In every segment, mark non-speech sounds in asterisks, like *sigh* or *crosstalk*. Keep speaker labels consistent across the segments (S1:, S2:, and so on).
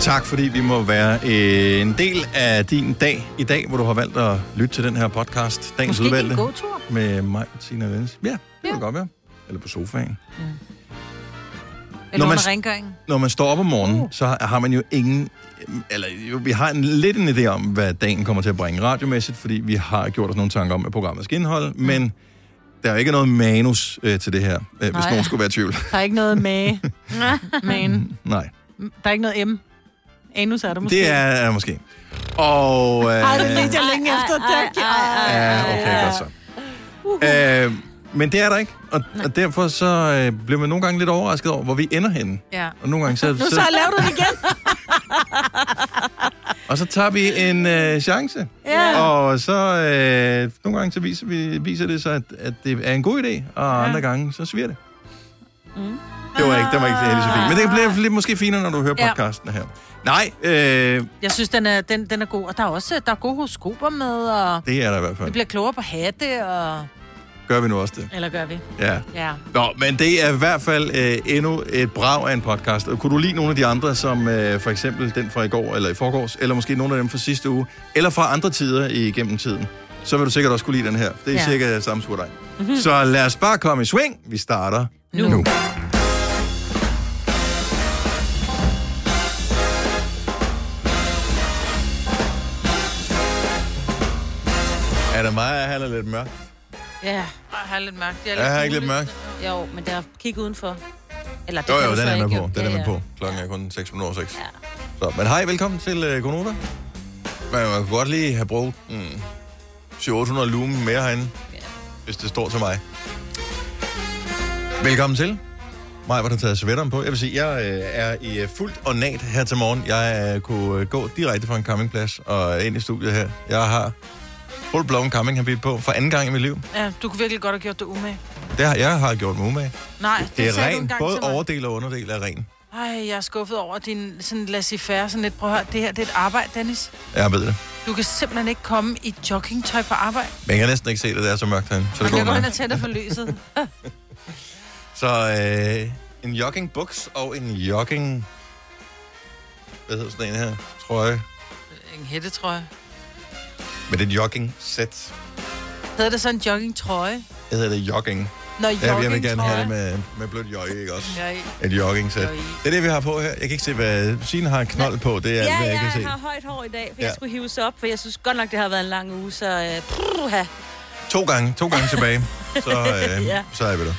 S1: Tak, fordi vi må være øh, en del af din dag i dag, hvor du har valgt at lytte til den her podcast. Dagens
S2: Måske
S1: udvalgte
S2: en god tur.
S1: med mig, Tina Dennis. Ja, det ja.
S2: Ja.
S1: kan godt være. Eller på sofaen. Når
S2: Eller
S1: man-
S2: under rengøringen.
S1: Når man står op om morgenen, uh. så har man jo ingen... Eller jo, vi har en, lidt en idé om, hvad dagen kommer til at bringe radiomæssigt, fordi vi har gjort os nogle tanker om, hvad programmet skal indeholde, men der er jo ikke noget manus øh, til det her, øh, hvis
S3: Nej.
S1: nogen skulle være i tvivl. *laughs*
S3: Der er ikke noget *laughs* med, men
S1: Nej,
S3: der er ikke noget M. Anus er der måske.
S1: det er, er måske. Og... Øh,
S3: Ej, det ledte jeg længe
S2: Ej,
S3: efter,
S2: ej,
S3: tak.
S2: ej, ej, ej.
S1: Ja, okay, godt så. Øh, men det er der ikke, og, og derfor så øh, bliver man nogle gange lidt overrasket over, hvor vi ender henne.
S2: Ja.
S1: Og nogle gange så,
S3: Nu så
S1: så,
S3: laver du det igen.
S1: *laughs* og så tager vi en øh, chance.
S3: Ja.
S1: Og så øh, nogle gange så viser, vi, viser det sig, at, at det er en god idé, og ja. andre gange så sviger det. Mm. Det var ikke, det var ikke det så fint. Men det bliver lidt, måske finere, når du hører
S3: Ja.
S1: podcasten her. Nej, øh,
S3: Jeg synes, den er, den, den er god. Og der er også der er gode horoskoper med, og
S1: det er der i hvert
S3: vi
S1: fald.
S3: bliver klogere på hatte, og...
S1: Gør vi nu også det.
S3: Eller gør vi?
S1: Ja.
S3: Ja.
S1: Nå, men det er i hvert fald øh, endnu et brag af en podcast. Og kunne du lide nogle af de andre, som øh, for eksempel den fra i går, eller i forgårs, eller måske nogle af dem fra sidste uge, eller fra andre tider igennem tiden, så vil du sikkert også kunne lide den her. Det er ja.
S3: Ja.
S1: cirka samme skur dig. Så lad os bare komme i sving. Vi starter nu.
S3: Nu.
S1: nu.
S4: Er det mig, jeg handler lidt mørkt?
S2: Ja, og har lidt magt. Jeg
S4: Er jeg ikke lidt mørkt?
S2: Jo, men der er kig udenfor. Eller det
S4: Jo,
S2: kan
S4: jo,
S2: du
S4: den
S2: så
S4: er med
S2: ikke,
S4: på.
S2: jo.
S4: Den er
S2: Ja,
S4: med
S2: ja.
S4: på. Klokken er kun 6 minutter over 6.
S2: Ja.
S4: Så, men hej, velkommen til uh, Konoba. Man kan godt lige have brugt mm, 700 lumen mere herinde,
S2: Ja.
S4: hvis det står til mig. Velkommen til. Mig var der taget sweateren på. Jeg vil sige, jeg øh, er i øh, fuldt ornat her til morgen. Jeg øh, kunne øh, gå direkte fra en campingplads og ind i studiet her. Jeg har full blown camping habit på for anden gang i mit liv.
S3: ja. du kunne virkelig godt have gjort det umage.
S4: Det har jeg har gjort mig umage.
S3: Nej,
S4: Det er
S3: sagde du
S4: ren.
S3: engang
S4: Både
S3: til mig.
S4: overdel og underdel er ren.
S3: Ej, jeg er skuffet over din sådan laissez-faire, sådan lidt, prøv at høre, det her, det er et arbejde, Dennis.
S4: Jeg ved det.
S3: Du kan simpelthen ikke komme i joggingtøj på arbejde.
S4: Men jeg kan næsten ikke se det, det er så mørkt herinde. Så, det
S3: Man kan
S4: går
S3: gå hen
S4: nok.
S3: og tænde for lyset.
S4: så øh, en joggingbuks og en jogging... Hvad hedder sådan en her? Trøje.
S3: *laughs* En hættetrøje.
S4: Men det er et jogging-sæt.
S3: Hedder det så en joggingtrøje?
S4: Jeg hedder det jogging.
S3: Nå,
S4: Ja, jeg vil gerne have det
S3: joggingtrøje.
S4: med, med blødt jøj, ikke også?
S3: Jeg,
S4: Et jogging-sæt.
S3: Jøj.
S4: Det er det, vi har på her. Jeg kan ikke se, hvad Signe har knold på. Det er alt,
S2: Ja,
S4: hvad jeg kan
S2: jeg
S4: se.
S2: har højt hår i dag, for
S4: Ja.
S2: jeg skulle hives op, for jeg synes godt nok, det har været en lang uge, så øh, pruha.
S4: To gange. To gange
S3: *laughs*
S4: tilbage. Så, øh,
S2: Ja.
S4: så er vi der.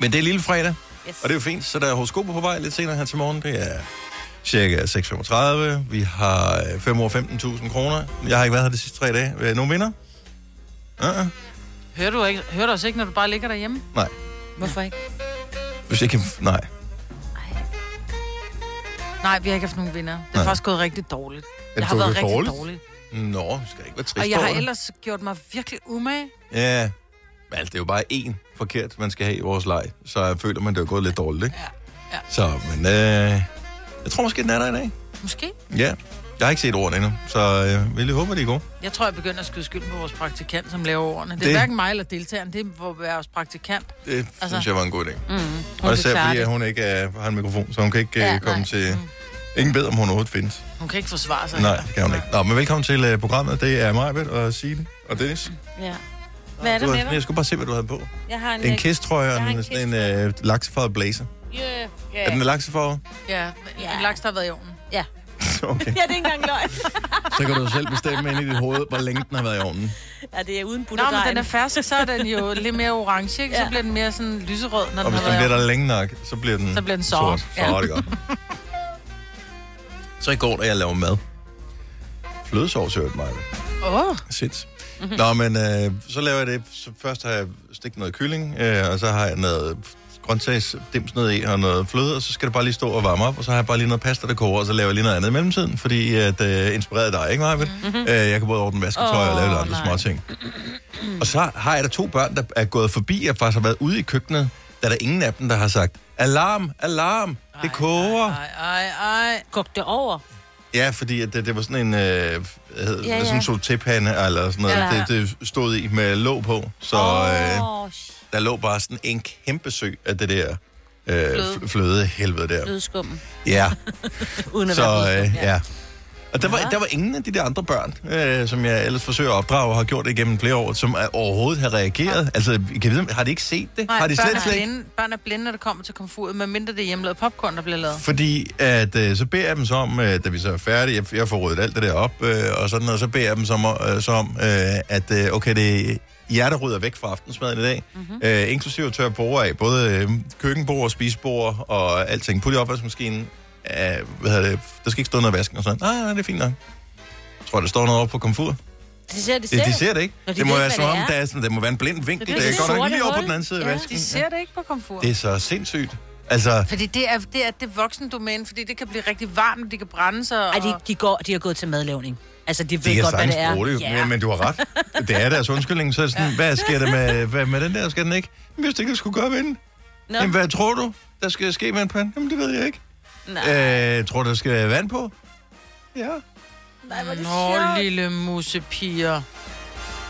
S4: Men det er lille fredag.
S2: Yes.
S4: Og det er jo fint, så der er horoskoper på vej lidt senere her til morgen. Det er cirka 6.35. Vi har øh, 5 over 15.000 kroner. Jeg har ikke været her de sidste tre dage. Øh, Nogen vinder? Uh-uh.
S3: hører, du ikke, hører du os ikke, når du bare ligger derhjemme?
S4: Nej.
S2: Hvorfor ikke?
S4: Hvis jeg kan... Nej.
S3: Nej, vi har ikke haft nogen vinder. Det er
S4: Nej.
S3: faktisk gået rigtig dårligt.
S4: det
S3: Jeg har
S4: gået
S3: været rigtig
S4: dårligt?
S3: dårligt. dårligt.
S4: Nå, du skal ikke være trist
S3: Og jeg har
S4: over det.
S3: ellers gjort mig virkelig umage.
S4: Ja. Men altså, det er jo bare én forkert, man skal have i vores leg. Så jeg føler man, det er gået lidt dårligt, ikke?
S3: Ja. Ja.
S4: Så, men øh, jeg tror måske, den er der i dag.
S3: Måske.
S4: Ja. Jeg har ikke set ordene endnu, så øh, jeg lige håber, de er gode.
S3: Jeg tror, jeg begynder at skyde skylden på vores praktikant, som laver ordene. Det er
S4: Det-
S3: det... hverken mig eller deltageren, det er vores praktikant. Mm-hmm.
S4: Det altså... synes jeg var en god idé.
S2: Mm,
S4: Og
S2: hun kan
S4: især
S2: klare
S4: fordi, at
S2: det.
S4: hun ikke øh, har en mikrofon, så hun kan ikke øh,
S2: Ja,
S4: komme
S2: nej. Mm.
S4: til... Ingen ved, om hun overhovedet findes.
S3: Hun kan ikke forsvare sig.
S4: Nej, det kan hun ikke. Nå, men velkommen til øh, programmet. Det er mig, Britt, og Signe og Dennis.
S2: Ja. Hvad er
S4: Du
S2: det med
S4: har,
S2: dig?
S4: jeg skulle bare se, hvad du havde på.
S2: Jeg har en... øh,
S4: En kisttrøje
S2: Jeg har
S4: og
S2: en
S4: en, sådan en øh, laksefarvet blazer.
S2: Yeah,
S4: Er den
S2: yeah. *laughs*
S4: laksefarvet? *laughs*
S3: Ja,
S2: Ja.
S3: en laks, der har været i ovnen.
S2: Ja. *laughs*
S4: Okay.
S2: Ja, det er ikke engang løgn.
S4: Så kan du selv bestemme ind i dit hoved, hvor længe den har været i ovnen.
S2: ja, det er uden
S3: Nå, men den
S2: butterdejen.
S3: er fersk, så er den *laughs* jo lidt mere orange, ikke? Så
S2: Ja.
S3: bliver den mere sådan lyserød, når
S4: Og
S3: den
S4: hvis
S3: har
S4: den
S3: været
S4: bliver
S3: i ovnen.
S4: der længe nok, så bliver den,
S3: Så bliver den sort.
S4: Så er det godt. Så i går, da jeg lavede mad. Flødesovs hørte mig.
S3: Åh, oh,
S4: Sinds. Nå, men øh, så laver jeg det. Så først har jeg stegt noget kylling, øh, og så har jeg noget grøntsagsdims ned i, og noget fløde, og så skal det bare lige stå og varme op, og så har jeg bare lige noget pasta, der koger, og så laver jeg lige noget andet i mellemtiden, fordi at, øh, inspireret af dig, ikke meget? Mm-hmm. Øh, jeg kan både ordne vasketøj oh, og lave lidt andre
S2: nej.
S4: små ting. Og så har jeg da to børn, der er gået forbi, jeg faktisk har været ude i køkkenet, da der er ingen af dem, der har sagt, alarm, alarm, det koger.
S3: ej, ej, ej.
S2: Kog det over.
S4: Ja, fordi at det, det var sådan en, øh, hvad hedder, ja,
S2: Ja,
S4: ja.
S2: ja.
S4: sådan en sotepande eller sådan noget, ja,
S2: Ja,
S4: ja.
S2: ja.
S4: Det, det stod i med låg på, så øh,
S2: Åh, oh,
S4: der lå bare sådan en kæmpe sø af det der øh, fløde helvede der.
S2: Flødeskummen.
S4: Ja,
S2: *laughs* Uden at
S4: så
S2: være flødeskum,
S4: øh,
S2: ja.
S4: ja. Og der var, der var ingen af de der andre børn, øh, som jeg ellers forsøger at opdrage og har gjort det igennem flere år, som er- overhovedet har reageret. Altså, kan vi, vide, har de ikke set det?
S3: Nej,
S4: har de
S3: børn,
S4: slet,
S3: er
S4: slet ikke?
S3: blinde, børn er blinde, når det kommer til komfuret, medmindre det er hjemmelavet popcorn, der bliver lavet.
S4: Fordi at, øh, så beder jeg dem så om, øh, da vi så er færdige, jeg, jeg får ryddet alt det der op, øh, og sådan noget, så beder jeg dem så om, øh, så om øh, at øh, okay, det er jer, der rydder væk fra aftensmaden i dag,
S2: Mhm.
S4: mm-hmm. øh, inklusive tør borde af, både øh, køkkenbord og spisebord og alting. Put i opvaskemaskinen. Øh, hvad hedder det? Der skal ikke stå noget i vasken og sådan. Nej, nej, det er fint nok. Jeg tror, der står noget over på komfur.
S2: Det ser det
S4: Det,
S2: selv.
S4: de ser det ikke.
S2: Nå, de
S4: det må
S2: ved
S4: være
S2: ikke,
S4: som
S2: hvad
S4: om,
S2: det er.
S4: der er sådan, det må være en blind vinkel.
S3: Det er
S4: Det er
S2: det
S4: godt nok
S2: sorte
S4: lige over på
S2: hul.
S4: den anden side af
S2: Ja.
S4: vasken.
S3: De ser det ikke på komfuret.
S4: Det er så sindssygt. Altså,
S3: Fordi det er, det er det voksendomæne, fordi det kan blive rigtig varmt, de kan brænde sig. Og...
S2: Ej, de, de, går, de har gået til madlavning. Altså, de
S4: De
S2: ved
S4: kan
S2: godt, hvad
S4: sagtens
S2: det er.
S4: bruge det, ja.
S2: ja.
S4: men, men du har ret. Det er deres undskyldning, så er det sådan, hvad sker der med, hvad med den der? Skal den ikke? Jamen, hvis det ikke, der skulle gøre ved den.
S2: Nå,
S4: Jamen, hvad tror du, der skal ske med en pande? Jamen, det ved jeg ikke.
S2: nej,
S4: Øh, tror du, der skal vand på? Ja.
S2: nej, hvor er det
S3: Nå,
S2: sjovt.
S3: lille musepiger.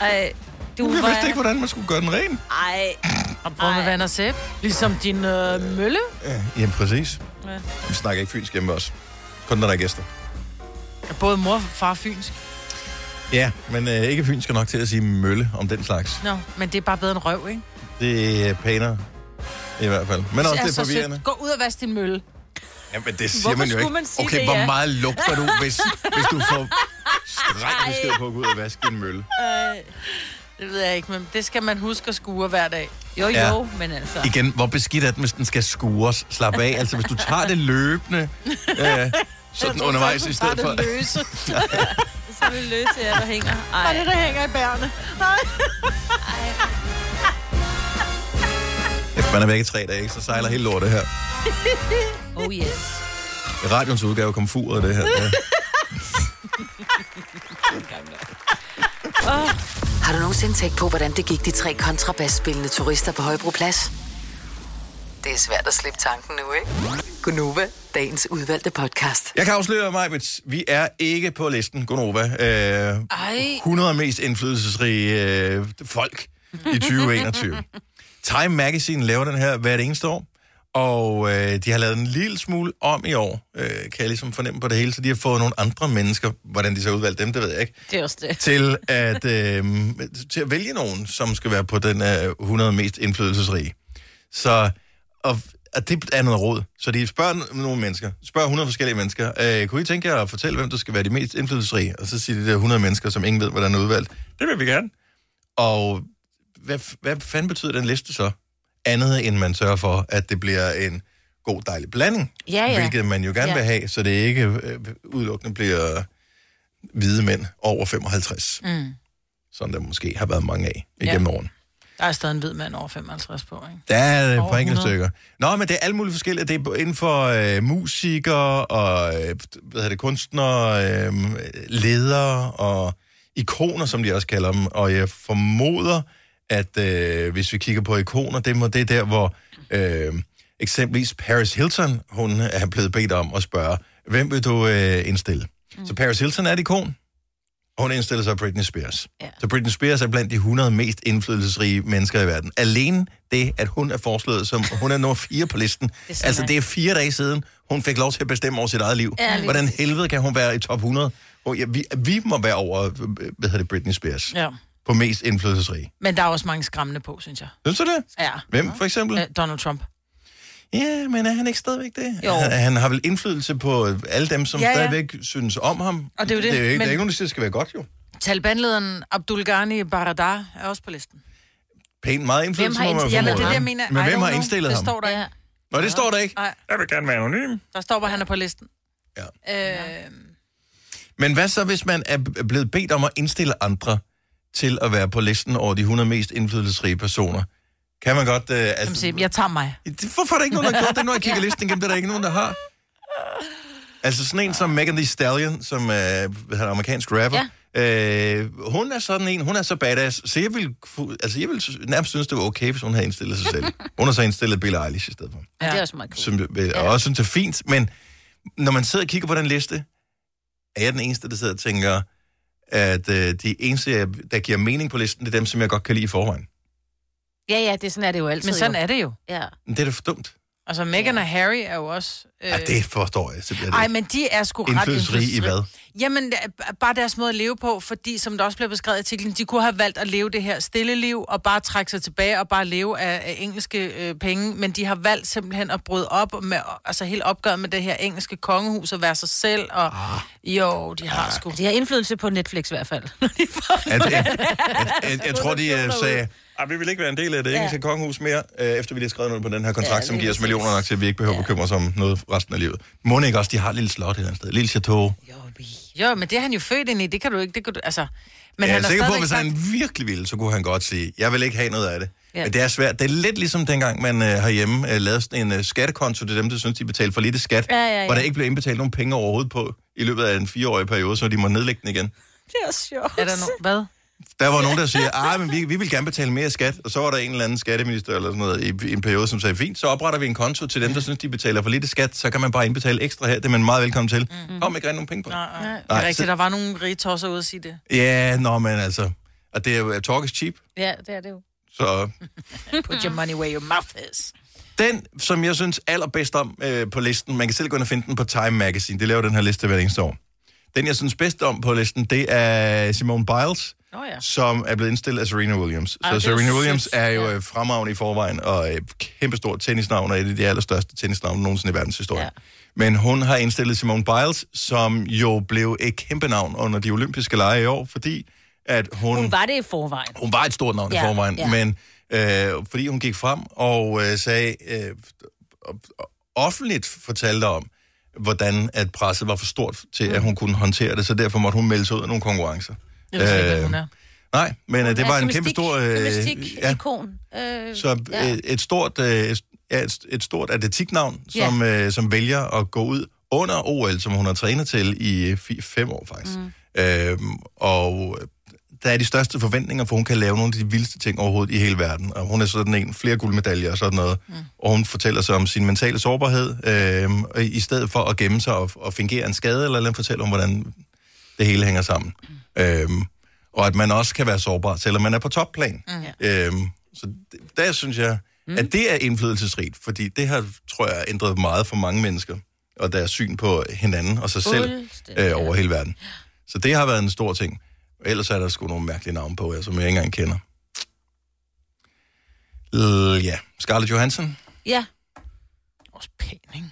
S2: Ej, du
S4: Jamen, jeg
S2: var...
S4: vidste ikke, hvordan man skulle gøre den ren.
S2: Ej,
S3: Og prøv med
S2: Ej.
S3: vand og sæb. Ligesom din øh, mølle.
S4: Jamen, præcis.
S2: Ja.
S4: Vi snakker ikke fynsk hjemme også. Kun når der er gæster.
S3: Ja, Både mor og far er fynsk.
S4: Ja, men øh, ikke fynsk er nok til at sige mølle om den slags.
S3: Nå, men det er bare bedre end røv, ikke?
S4: Det er pænere. I hvert fald. Men også det er
S3: så
S4: forvirrende.
S3: sødt. Gå ud og vask din mølle.
S4: Jamen, det siger
S2: Hvorfor
S4: man jo
S2: skulle
S4: ikke.
S2: man sige
S4: okay,
S2: det,
S4: hvor
S2: ja?
S4: meget lugter du,
S2: *laughs*
S4: hvis, hvis du får streng besked på at gå ud og vaske din mølle?
S3: Øh, Det ved jeg ikke, men det skal man huske at skure hver dag.
S2: jo jo,
S4: Ja.
S2: men altså.
S4: Igen, hvor beskidt er den, hvis den skal skures? Slap af. Altså, hvis du tager det
S2: *laughs*
S4: løbende, øh, sådan undervejs i stedet for...
S3: løse.
S2: Så er det løse jer, der hænger.
S3: Og
S2: Ej,
S3: det, der hænger i bærene.
S4: Efter *laughs* man er væk i tre dage, ikke, så sejler hele lortet her.
S2: *laughs* oh yes.
S4: I Radions udgave kom furet, det her. Ja.
S5: Har du nogensinde tænkt på, hvordan det gik de tre kontrabasspillende turister på Højbroplads? Det er svært at slippe tanken nu, ikke? Gunova, dagens udvalgte podcast.
S4: Jeg kan afsløre mig, at vi er ikke på listen, Gunova. Øh,
S3: Ej.
S4: 100 mest indflydelsesrige øh, folk i 2021. Time Magazine laver den her hvert eneste år, og øh, de har lavet en lille smule om i år, øh, kan jeg ligesom fornemme på det hele, så de har fået nogle andre mennesker, hvordan de så har udvalgt dem, det ved jeg ikke,
S2: Det er også det.
S4: *laughs* til at, øh, til at vælge nogen, som skal være på den øh, 100 mest indflydelsesrige. Så, og, og det er noget råd. Så de spørger n- nogle mennesker, spørger 100 forskellige mennesker, øh, kunne I tænke jer at fortælle, hvem der skal være de mest indflydelsesrige? Og så siger de der 100 mennesker, som ingen ved, hvordan er udvalgt. Det vil vi gerne. Og hvad, f- hvad fanden betyder den liste så? Andet end man sørger for, at det bliver en god, dejlig blanding.
S2: Ja, ja.
S4: Hvilket man jo gerne
S2: Ja.
S4: vil have, så det ikke øh, udelukkende bliver hvide mænd over 55. Mm. Sådan der måske har været mange af igennem ja. årene.
S3: Der er stadig en hvid mand over 55 på, ikke?
S4: Der er et
S3: Over
S4: par enkelte
S3: 100.
S4: stykker. Nå, men det er alle mulige forskellige. Det er inden for øh, musikere og øh, hvad hedder det, kunstnere, øh, ledere og ikoner, som de også kalder dem. Og jeg formoder, at øh, hvis vi kigger på ikoner, det, må, det er der, hvor øh, eksempelvis Paris Hilton, hun er blevet bedt om at spørge, hvem vil du øh, indstille? Mm. Så Paris Hilton er et ikon. Og Hun indstiller sig Britney Spears. Ja.
S2: Ja.
S4: Så Britney Spears er blandt de 100 mest indflydelsesrige mennesker i verden. Alene det, at hun er foreslået som, hun er nummer 4 på listen.
S2: Det er
S4: altså, det er fire dage siden, hun fik lov til at bestemme over sit eget liv.
S2: Ja, lige
S4: Hvordan helvede kan hun være i top 100? Hvor, ja, vi, vi må være over, øh, hvad hedder det, Britney Spears. Ja.
S3: Ja.
S4: På mest indflydelsesrige.
S3: Men der er også mange skræmmende på, synes jeg.
S4: Synes du det?
S3: Ja.
S4: Hvem, for eksempel?
S3: Øh, Donald Trump.
S4: Ja, men er han ikke stadigvæk det?
S2: Jo.
S4: Han, han har vel indflydelse på alle dem, som ja,
S3: Ja,
S4: ja.
S3: ja.
S4: stadigvæk synes om ham.
S3: Og det er jo det,
S4: Det er jo ikke, men...
S3: men-
S4: der er ikke nogen, der siger, det skal være godt, jo.
S3: Talibanlederen Abdul Ghani Baradar er også på listen.
S4: Pænt meget indflydelse,
S2: har
S4: må man
S2: indstillet
S3: Jamen, det er
S4: formode.
S3: det, jeg mener.
S4: Men
S3: I don't
S4: hvem har
S3: know.
S4: indstillet
S3: det
S4: ham?
S3: Det står der
S2: Ja.
S3: ikke.
S4: Nå, det står der ikke.
S3: Nej,
S4: Jeg vil gerne være anonym.
S3: der står bare, han er på listen.
S4: Ja.
S3: Øh,
S4: Men hvad så, hvis man er b- blevet bedt om at indstille andre til at være på listen over de 100 mest indflydelsesrige personer? Kan man godt... Øh,
S3: som
S4: altså,
S3: siger, jeg tager mig.
S4: Det- hvorfor er der ikke nogen, der har gjort det, når
S3: *laughs*
S4: jeg kigger listen igennem? Det er der ikke nogen, der har. Altså sådan en som Megan Thee Stallion, som er øh, amerikansk rapper, ja. øh, hun er sådan en, hun er så badass, så jeg ville, fu- altså jeg ville sy- nærmest synes, det var okay, hvis hun havde indstillet sig
S3: *laughs*
S4: selv. Hun har så indstillet Billie Eilish i stedet for.
S2: Ja. Det er også meget cool.
S4: som jeg ja. også synes er fint, men når man sidder og kigger på den liste, er jeg den eneste, der sidder og tænker, at øh, de eneste, jeg- der giver mening på listen, det er dem, som jeg godt kan lide i forvejen.
S2: Ja, ja, det er sådan er det jo altid.
S3: Men sådan
S2: jo.
S3: er det jo.
S2: Ja.
S4: Men det er da for dumt.
S3: Altså, Meghan ja. og Harry er jo også... Øh,
S4: Ja, det forstår jeg simpelthen
S3: Ej,
S4: ikke.
S3: men de er sgu ret
S4: Indflydelsesrige i
S3: indflydelsesrige.
S4: hvad?
S3: Jamen, det er bare deres måde at leve på, fordi som der også bliver beskrevet i artiklen, de kunne have valgt at leve det her stille liv, og bare trække sig tilbage og bare leve af, af engelske øh, penge, men de har valgt simpelthen at bryde op med, altså helt opgøret med det her engelske kongehus og være sig selv, og ah. jo, de har ah. sgu...
S2: De har indflydelse på Netflix i hvert fald.
S4: At, at, at, at, jeg tror, de øh, sagde, at vi vil ikke være en del af det engelske ja. kongehus mere, øh, efter vi lige har skrevet noget på den her kontrakt, ja,
S2: Ja,
S4: som
S2: lige
S4: giver os
S2: præcis.
S4: millioner nok til, at vi ikke behøver ja. bekymre os om noget resten af livet. Må ikke også, de har et lille slot et eller andet sted. Lille chateau.
S3: Jo, men det er han jo født ind i, det kan du ikke, det kan du, altså... Men
S4: Men jeg
S3: han
S4: er
S3: har
S4: sikker på, at
S3: stadigvæk
S4: hvis
S3: sagt-
S4: han virkelig ville, så kunne han godt sige, jeg vil ikke have noget af det. Ja.
S2: Ja.
S4: Men det er svært. Det er lidt ligesom dengang, man øh, herhjemme øh, lavede sådan en øh, skattekonto til dem, der synes, de betalte for lidt i skat,
S2: Ja, ja, ja.
S4: hvor der ikke blev indbetalt nogen penge overhovedet på i løbet af en fireårig periode, så de må nedlægge den igen.
S2: det er sjovt.
S3: Er der nogen... Hvad?
S4: Der var nogen, der siger, at vi, vi vil gerne betale mere i skat, og så var der en eller anden skatteminister eller sådan noget i, i en periode, som sagde, fint, så opretter vi en konto til dem, der synes, de betaler for lidt i skat, så kan man bare indbetale ekstra her, det er man meget velkommen til. Mm-hmm. Kom ikke rent nogen penge på.
S3: Nej, nej. Det
S4: Nej,
S3: er
S4: så-
S3: rigtigt, der var nogle rige tosser ude at sige det.
S4: Ja, nå, men altså, og det er jo, talk is cheap,
S2: Ja, det er det jo.
S4: så
S3: Put your money where your mouth is.
S4: Den, som jeg synes allerbedst om øh, på listen, man kan selv gå ind og finde den på Time Magazine, det laver den her liste hver eneste år. Den, jeg synes bedst om på listen, det er Simone Biles,
S3: Nå ja.
S4: som er blevet indstillet af Serena Williams.
S2: Ej,
S4: så
S2: det er jo
S4: Serena Williams
S2: sødt,
S4: er jo
S2: ja.
S4: øh, fremragende i forvejen, og øh, kæmpestort tennisnavn, og et af de allerstørste tennisnavne nogensinde i verdenshistorien. Ja.
S2: Ja.
S4: Men hun har indstillet Simone Biles, som jo blev et kæmpe navn under de olympiske lege i år, fordi at hun...
S2: Hun var det i forvejen.
S4: Hun var et stort navn ja, i
S2: Ja,
S4: forvejen, ja.
S2: ja.
S4: men øh, fordi hun gik frem og øh, sagde, øh, offentligt fortalte om, hvordan at presset var for stort til, at hun kunne håndtere det, så derfor måtte hun melde sig ud af nogle konkurrencer.
S3: Mm. Jeg ved slet ikke, hvad hun
S4: Øh,
S3: er.
S4: Nej, men øh, det var en kæmpe stor... ja,
S2: Gymnastik-ikon. Øh,
S4: så
S2: ja.
S4: øh, et stort, øh, et- ja, et, et stort atletiknavn,
S2: Ja.
S4: som, øh, som vælger at gå ud under OL, som hun har trænet til i 5 år faktisk. Mm. Øhm, og der er de største forventninger, for hun kan lave nogle af de vildeste ting overhovedet i hele verden. Og hun er sådan en, flere guldmedaljer og sådan noget. Mm. Og hun fortæller sig om sin mentale sårbarhed. Øhm, og i stedet for at gemme sig og, og fingere en skade, eller, eller andet, fortæller hun, hvordan det hele hænger sammen. Mm. Øhm, og at man også kan være sårbar, selvom man er på topplan. Mm. Øhm, så det- der synes jeg, mm. at det er indflydelsesrigt, fordi det har, tror jeg, ændret meget for mange mennesker, og deres syn på hinanden og sig selv
S2: Fuldstændig,
S4: øh, over hele verden. Så det har været en stor ting. Ellers er der sgu nogle mærkelige navne på her, som jeg ikke engang kender. L- ja, Scarlett Johansson.
S2: ja,
S3: Også pæn, ikke?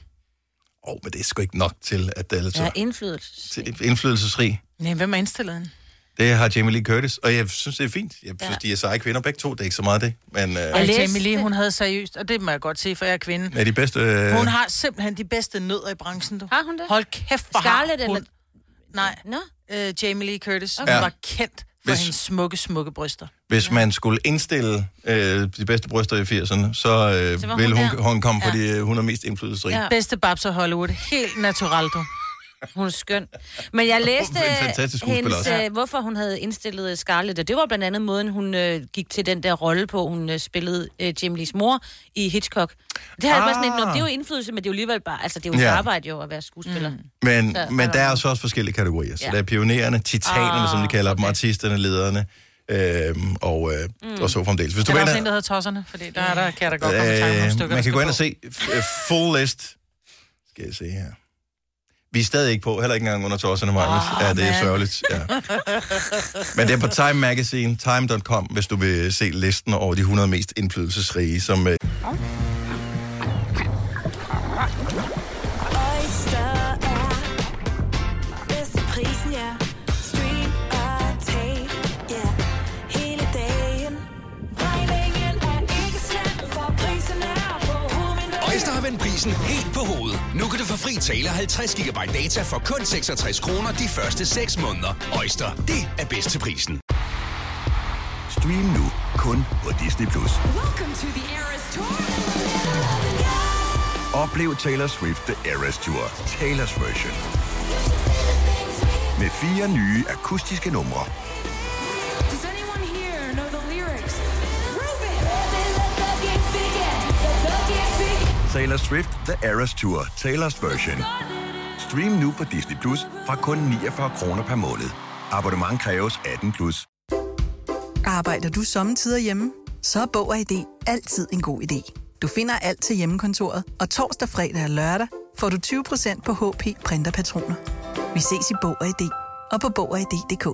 S4: Åh, oh, men det er sgu ikke nok til, at det er
S2: der
S4: så
S2: er indflydelse.
S4: til- indflydelsesrig.
S3: Nej, hvem er indstillet hende?
S4: Det har Jamie Lee Curtis, og jeg synes, det er fint. Jeg synes,
S2: Ja.
S4: de er seje kvinder begge to, det er ikke så meget det. Men øh,
S3: Ej,
S2: læste
S3: Altså, Jamie Lee,
S2: det.
S3: hun havde seriøst, og det må jeg godt se, for jeg er kvinde.
S4: er de bedste... Øh,
S3: Hun har simpelthen de bedste nødder i branchen, du.
S2: Har hun det?
S3: Hold kæft, hvor
S2: Scarlett
S3: har hun.
S2: eller...
S3: Nej,
S2: Nå?
S3: øh, Jamie Lee Curtis,
S4: Ja.
S3: hun var kendt for
S4: Hvis-
S3: Hvis... hendes smukke, smukke bryster.
S4: Hvis man skulle indstille øh, de bedste bryster i 80'erne, så, øh,
S2: Så
S4: så
S2: var
S4: ville
S2: hun
S4: hun,
S2: der.
S4: hun komme ja. på de øh, 100 mest indflydelsesrige. Ja.
S2: Ja.
S3: Bedste babs af Hollywood, helt naturalt, du.
S2: Hun er skøn. Men jeg læste
S4: Hun er en fantastisk skuespiller
S2: hendes,
S4: også.
S2: øh, hvorfor hun havde indstillet øh, Scarlett, og det var blandt andet måden, hun øh, gik til den der rolle på. Hun øh, spillede øh, Jim Lees mor i Hitchcock. Det har jeg bare sådan lidt,
S4: Ah.
S2: "Nå, men det er jo indflydelse, men det er jo alligevel bare, altså det er jo
S4: Ja.
S2: ja. arbejde jo at være skuespiller. Mm.
S4: Men,
S2: Så-
S4: men der er altså også forskellige kategorier. Så ja.
S2: Ja.
S4: der er pionererne, titanerne, ah, som de kalder okay. dem,
S2: okay.
S4: artisterne, lederne, øh, og, øh, mm. og så fremdeles. Hvis
S3: Der var
S4: vil
S3: også
S4: ind
S3: en, der
S4: og-
S3: hedder Tosserne, fordi der, er der kan jeg da godt komme i tanke om nogle stykker,
S4: øh, man
S3: der
S4: kan gå
S3: skal
S4: ind og
S3: på.
S4: se øh, full list. Skal jeg se her. Vi er stadig ikke på, heller ikke engang under torserne, Magnus.
S3: Åh,
S4: ja, det er
S3: mand.
S4: sørgeligt. Ja. Men det er på Time Magazine, time.com, hvis du vil se listen over de 100 mest indflydelsesrige, som øh,
S6: Oyster er bedst til prisen, ja. Stream og tag, ja. Hele dagen. Regningen er ikke slem, for prisen er på hovedet.
S7: Øjster har vendt prisen helt på hovedet. Nu kan du få fri tale 50 GB data for kun 66 kroner de første 6 måneder. Øjster, det er bedst til prisen.
S8: Stream nu kun på Disney+. Plus. Oplev Taylor Swift The Eras Tour, Taylor's version. Med fire nye akustiske numre.
S6: Does anyone here know the lyrics? Prove it! The love gets bigger. The love gets bigger.
S8: Taylor Swift The Eras Tour, Taylor's version. Stream nu på Disney Plus fra kun 49 kroner per måned. Abonnement kræves 18 plus.
S9: Arbejder du sommetider hjemme? Så er Bog og ID altid en god idé. Du finder alt til hjemmekontoret, og torsdag, fredag og lørdag får du 20% på HP Printerpatroner. Vi ses i Bog og ID og på Bog og ID.dk.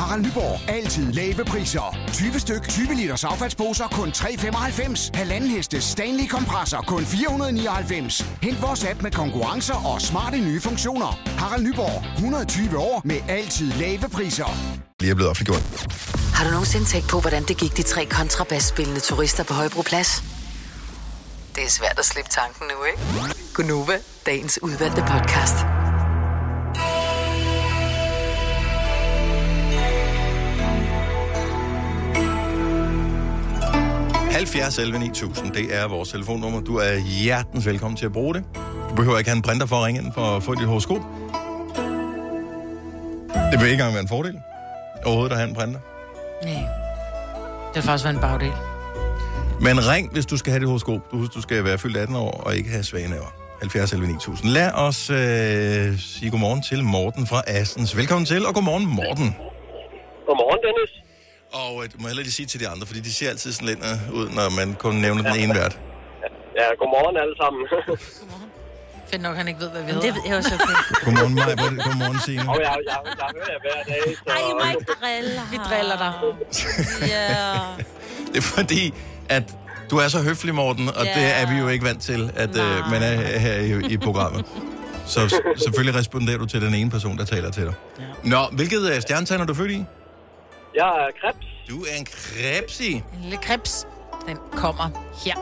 S10: Harald Nyborg. Altid lave priser. 20 styk, 20 liters affaldsposer kun 3,95. Halvanden heste Stanley kompresser kun 499. Hent vores app med konkurrencer og smarte nye funktioner. Harald Nyborg. 120 år med altid lave priser.
S4: Lige er blevet offentliggjort.
S5: Har du nogensinde tænkt på, hvordan det gik de tre kontrabasspillende turister på Højbroplads? Det er svært at slippe tanken nu, ikke? Gunova, dagens udvalgte podcast.
S4: Mm. 70 11 9000, det er vores telefonnummer. Du er hjertens velkommen til at bruge det. Du behøver ikke have en printer for at ringe ind for at få dit horoskop. Det vil ikke engang være en fordel. Overhovedet at have en printer.
S3: Nej. Det har faktisk været en bagdel.
S4: Men ring, hvis du skal have dit horoskop. Du husker, du skal være fyldt 18 år og ikke have svage næver. 70 11 9000. Lad os øh, sige godmorgen til Morten fra Assens. Velkommen til, og godmorgen Morten.
S11: Godmorgen, Dennis.
S4: Og øh, du må hellere lige sige til de andre, fordi de ser altid sådan lidt øh, ud, når man kun nævner den ene vært.
S11: Ja, godmorgen alle sammen. *laughs*
S3: Fedt nok, han ikke ved, hvad vi
S2: Men
S3: hedder.
S2: det ved jeg også okay.
S4: Godmorgen, Maja. Godmorgen, Signe.
S11: og jeg, jeg, jeg hører jer hver dag, så...
S2: Ej, I må ikke drille ham.
S3: Vi driller dig.
S2: Ja.
S4: Det er fordi, at du er så høflig, Morten, og
S2: Ja.
S4: det er vi jo ikke vant til, at øh, man er her i, i programmet. Så s- selvfølgelig responderer du til den ene person, der taler til dig. Nå, hvilket øh, stjernetegn er du født i?
S11: Jeg er krebs.
S4: Du er en krebsi.
S3: En lille krebs, den kommer her.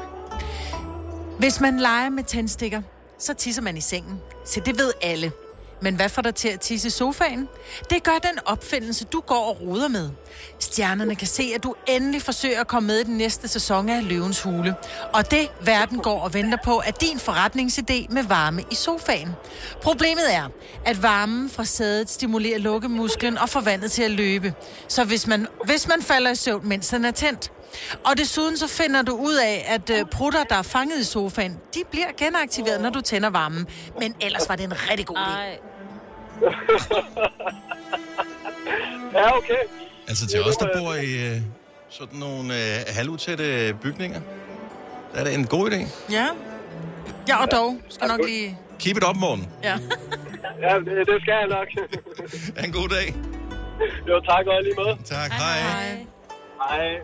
S3: Hvis man leger med tændstikker, så tisser man i sengen. Så det ved alle. Men hvad får dig til at tisse i sofaen? Det gør den opfindelse, du går og roder med. Stjernerne kan se, at du endelig forsøger at komme med i den næste sæson af Løvens Hule. Og det, verden går og venter på, er din forretningsidé med varme i sofaen. Problemet er, at varmen fra sædet stimulerer lukkemusklen og får vandet til at løbe. Så hvis man, hvis man falder i søvn, mens den er tændt, og desuden så finder du ud af, at øh, prutter, der er fanget i sofaen, de bliver genaktiveret, når du tænder varmen. Men ellers var det en rigtig god idé.
S2: Ej.
S11: Ja, okay.
S4: Altså til os, der bor i øh, sådan nogle øh, halvutætte bygninger, der er det en god idé.
S3: Ja. Ja, og dog. Skal nok lige...
S4: Keep it up, Morten.
S3: Ja.
S11: Ja, det, det skal jeg nok.
S4: Ha' en god dag.
S11: jo, tak og i lige med.
S4: Tak, hej. hej.
S11: Hej.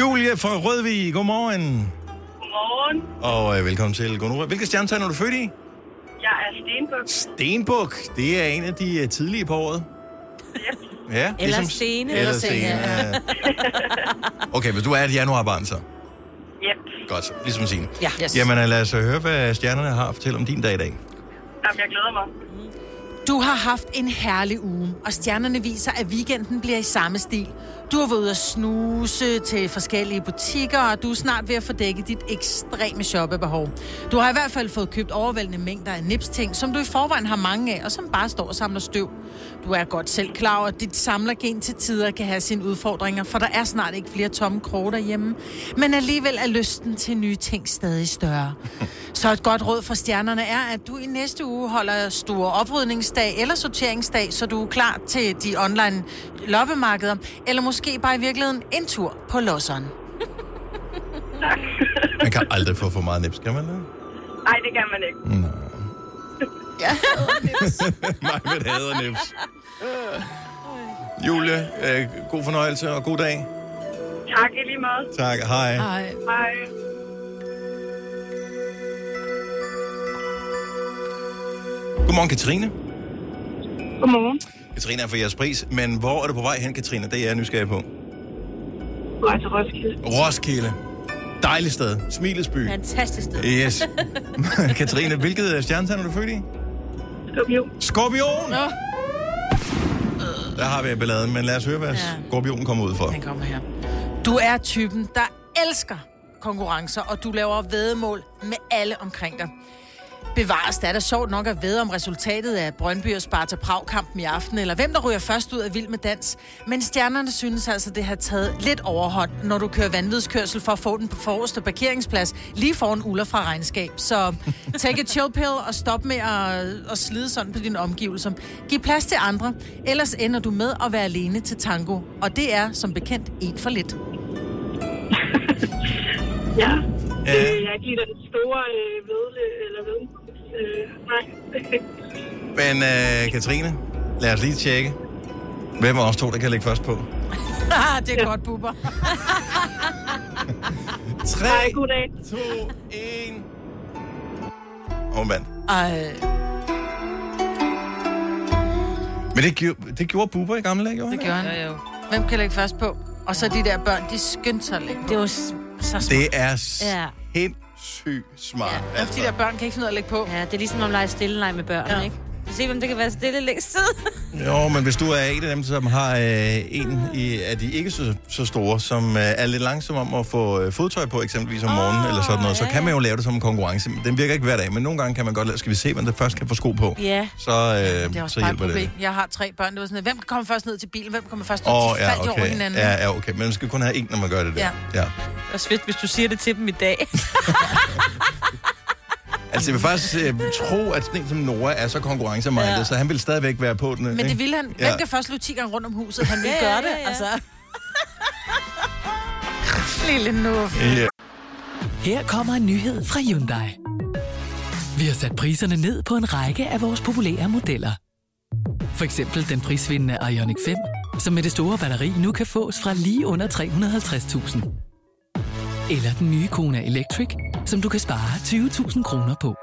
S4: Julie fra Rødvig, godmorgen.
S11: Godmorgen.
S4: Og øh, velkommen til Gonora. Hvilket stjernetegn er du født i?
S11: Jeg er Stenbuk.
S4: Stenbuk, det er en af de øh, tidlige på året. Ja,
S2: Eller sene.
S4: Ligesom Eller
S2: Eller
S4: sene,
S2: sene,
S4: ja. Okay, hvis du er et januarbarn, så.
S11: Yep.
S4: Godt, ligesom Signe.
S2: Ja. Yes.
S4: Jamen øh, lad os øh, høre, hvad stjernerne har at fortælle om din dag i dag.
S11: Jamen, jeg glæder mig.
S3: Du har haft en herlig uge, og stjernerne viser, at weekenden bliver i samme stil. Du har været ude at snuse til forskellige butikker, og du er snart ved at få dækket dit ekstreme shoppebehov. Du har i hvert fald fået købt overvældende mængder af nipsting, som du i forvejen har mange af, og som bare står og samler støv. Du er godt selv klar over, at dit samlergen til tider kan have sine udfordringer, for der er snart ikke flere tomme kroge derhjemme. Men alligevel er lysten til nye ting stadig større. Så et godt råd fra stjernerne er, at du i næste uge holder stor oprydningsdag eller sorteringsdag, så du er klar til de online loppemarkeder, eller måske bare i virkeligheden en tur på losseren.
S4: Man kan aldrig få for meget nips, kan man
S2: *laughs*
S4: det?
S11: Nej, det kan man ikke.
S12: *laughs*
S4: Nej, men hader nips. Julie, øh, god fornøjelse og god dag.
S11: Tak i lige meget.
S4: Tak, hej.
S3: Ej,
S11: Hej.
S4: Godmorgen, Katrine.
S11: Godmorgen.
S4: Katrine er for jeres pris, men hvor er du på vej hen, Katrine? Det er jeg nysgerrig på.
S11: Hej
S12: altså
S11: til Roskilde.
S4: Roskilde. Dejligt sted. Smilesby.
S2: Fantastisk sted.
S12: *laughs*
S4: Yes. *laughs* Katrine, hvilket øh, stjernetegn er du født i?
S11: Skubio.
S4: Skorpion! Der har vi balladen, men lad os høre, hvad skorpionen kommer ud for.
S3: den kommer her. Du er typen, der elsker konkurrencer, og du laver vedmål med alle omkring dig. Bevares, det er da sjovt nok at vide om resultatet af Brøndby og Sparta Prag-kampen i aften, eller hvem der ryger først ud af Vild med Dans. Men stjernerne synes altså, det har taget lidt overhånd, når du kører vanvidskørsel for at få den på forreste parkeringsplads, lige foran Ulla fra regnskab. Så take a chill pill og stop med at, at slide sådan på dine omgivelser. Giv plads til andre, ellers ender du med at være alene til tango. Og det er som bekendt en for lidt.
S12: Ja.
S4: Ja.
S12: Øh, jeg er ikke lige den store øh, vedle, eller ved. Øh, nej. *laughs*
S4: Men øh, Katrine, lad os lige tjekke. Hvem af os to, der kan lægge først på?
S3: *laughs* Ah, det er godt,
S4: *laughs*
S3: buber.
S4: 3,
S12: Hej, god dag.
S4: 2, 1. Åh, mand.
S3: Ej,
S4: Men det, gjorde, det gjorde Bubber i gamle dage, gjorde han
S3: det
S4: ikke?
S3: gjorde han.
S2: Jo, jo.
S3: Hvem kan lægge først på? Og så de der børn, de skyndte sig at lægge på.
S2: Det er jo s- så smart.
S4: Det
S2: Det...
S4: er
S2: Ja.
S4: sindssygt smart.
S2: Ja.
S4: Ja.
S3: Altså. De der børn kan ikke finde ud af at lægge på.
S2: Ja, det er ligesom at lege stille leg med børn, ja. ikke? Se, hvem det kan være stille længst tid.
S4: Jo, men hvis du er en af dem, som har øh, en i, af de ikke så, så store, som øh, er lidt langsom om at få øh, fodtøj på, eksempelvis om morgenen eller sådan noget, så
S2: ja,
S4: kan man jo lave det som en konkurrence. Den virker ikke hver dag, men nogle gange kan man godt lave, skal vi se, hvem der først kan få sko på.
S2: ja.
S4: Så, øh,
S3: Det er
S4: så
S3: også bare et
S4: hjælper
S3: problem.
S4: det.
S3: Jeg har tre børn. Det var sådan, at hvem kommer først ned til bilen? Hvem kommer først ned?
S4: Åh,
S3: de faldt
S4: ja,
S3: jo over
S4: okay.
S3: hinanden.
S4: Ja, ja, okay. Men man skal kun have en, når man gør det der.
S3: Ja.
S4: ja.
S2: Og svært, hvis du siger det til dem i dag.
S4: Altså, jeg vil faktisk øh, tro, at sådan en som Nora er så konkurrencemindet, ja.
S2: Ja.
S4: så han vil stadigvæk være på den.
S3: *laughs* Men det ville han. Hvem
S4: Ja.
S3: kan først løbe 10 gange rundt om huset? Han ville
S2: Ja,
S3: gøre
S2: ja,
S3: det,
S2: ja, ja.
S3: altså.
S2: *laughs*
S3: Lille nu.
S4: Ja.
S5: Her kommer en nyhed fra Hyundai. Vi har sat priserne ned på en række af vores populære modeller. For eksempel den prisvindende Ioniq 5, som med det store batteri nu kan fås fra lige under 350.000. Eller den nye Kona Electric, som du kan spare 20.000 kroner på.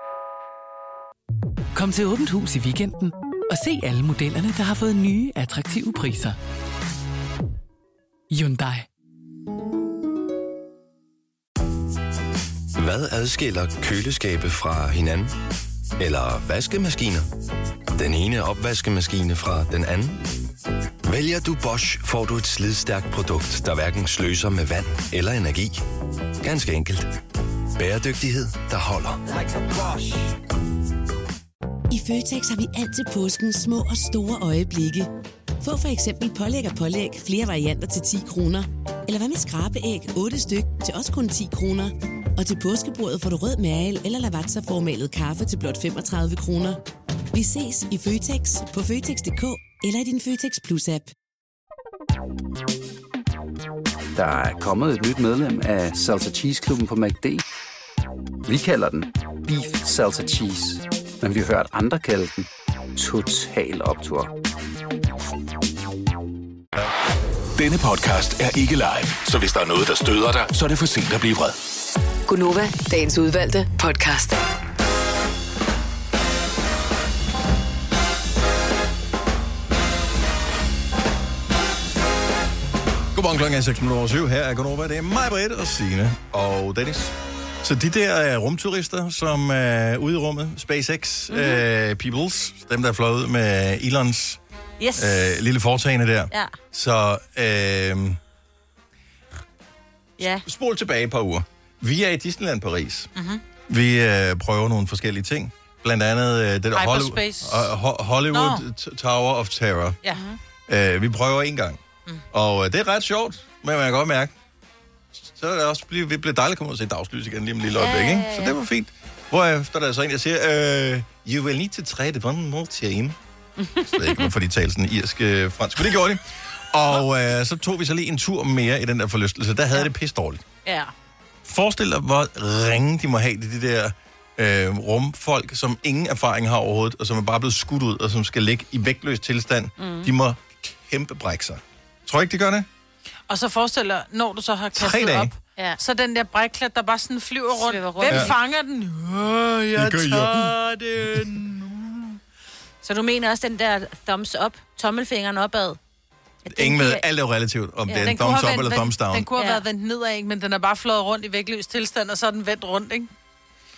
S5: Kom til Åbent Hus i weekenden og se alle modellerne, der har fået nye, attraktive priser. Hyundai.
S7: Hvad adskiller køleskabe fra hinanden? Eller vaskemaskiner? Den ene opvaskemaskine fra den anden? Vælger du Bosch, får du et slidstærkt produkt, der hverken sløser med vand eller energi. Ganske enkelt. Bæredygtighed, der holder.
S13: I Føtex har vi altid påsken små og store øjeblikke. Få for eksempel pålæg og pålæg flere varianter til 10 kroner. Eller hvad med skrabeæg 8 styk til også kun 10 kroner. Og til påskebordet får du rød mal eller lavatserformalet kaffe til blot 35 kroner. Vi ses i Føtex på Føtex.dk eller i din Føtex Plus-app.
S14: Der er kommet et nyt medlem af Salsa Cheese Klubben på MACD. Vi kalder den Beef Salsa Cheese, men vi har hørt andre kalde den Total Optor.
S7: Denne podcast er ikke live, så hvis der er noget, der støder dig, så er det for sent at blive vred.
S5: Gunova, dagens udvalgte podcast.
S4: Godmorgen klokken er 6 minutter over syv. Her er Gunova. Det er mig, Britt og Signe og Dennis. Så de der uh, rumturister, som er ude i rummet, SpaceX,
S3: Mhm.
S4: mm-hmm. uh, Peoples, dem der er fløjet ud med Elons
S2: Yes.
S4: uh, lille foretagende der.
S2: Ja.
S4: Så uh,
S2: Ja.
S4: spol tilbage et par uger. Vi er i Disneyland Paris. Mm-hmm. Vi øh, prøver nogle forskellige ting. Blandt andet øh, det der
S3: Hyperspace.
S4: Hollywood, uh, Hollywood T- Tower of Terror.
S3: Ja.
S4: Øh, vi prøver en gang. Mm. Og øh, det er ret sjovt, men man kan godt mærke, så er det også blive, det bliver dejligt at komme ud og se dagslys igen lige om et lille øjeblik, ikke? Så det var fint. Hvorefter der er så en, der siger, øh, you will need to try it one more time. Jeg ved ikke, hvorfor de talte sådan irsk øh, fransk, men det gjorde de. Og øh, så tog vi så lige en tur mere i den der forlystelse. Der havde ja. det pisse dårligt.
S2: Ja.
S4: Forestil dig, hvor ringe de må have det, de der øh, rumfolk, som ingen erfaring har overhovedet, og som er bare blevet skudt ud, og som skal ligge i vægtløs tilstand. Mm. De må kæmpe brække sig. Tror I ikke, de gør det?
S3: Og så forestil dig, når du så har kastet
S4: dage.
S3: op,
S2: Ja.
S3: så den der brækklat, der bare sådan flyver rundt.
S2: Svæver rundt.
S3: Hvem
S2: Ja.
S3: fanger den? Øh, jeg
S4: gør jeg.
S3: tager den.
S2: *laughs* Så du mener også den der thumbs up, tommelfingeren opad? At den
S4: Ingen ved,
S2: kan-
S4: alt er jo relativt, om ja, det er
S3: Den
S4: en
S3: kunne
S4: thumbs
S3: have
S4: up eller
S3: vendt-
S4: thumbs down.
S3: Den kunne have
S2: Ja.
S3: været vendt nedad, ikke? men den er bare flået rundt i vægtløs tilstand, og så er den vendt rundt, ikke?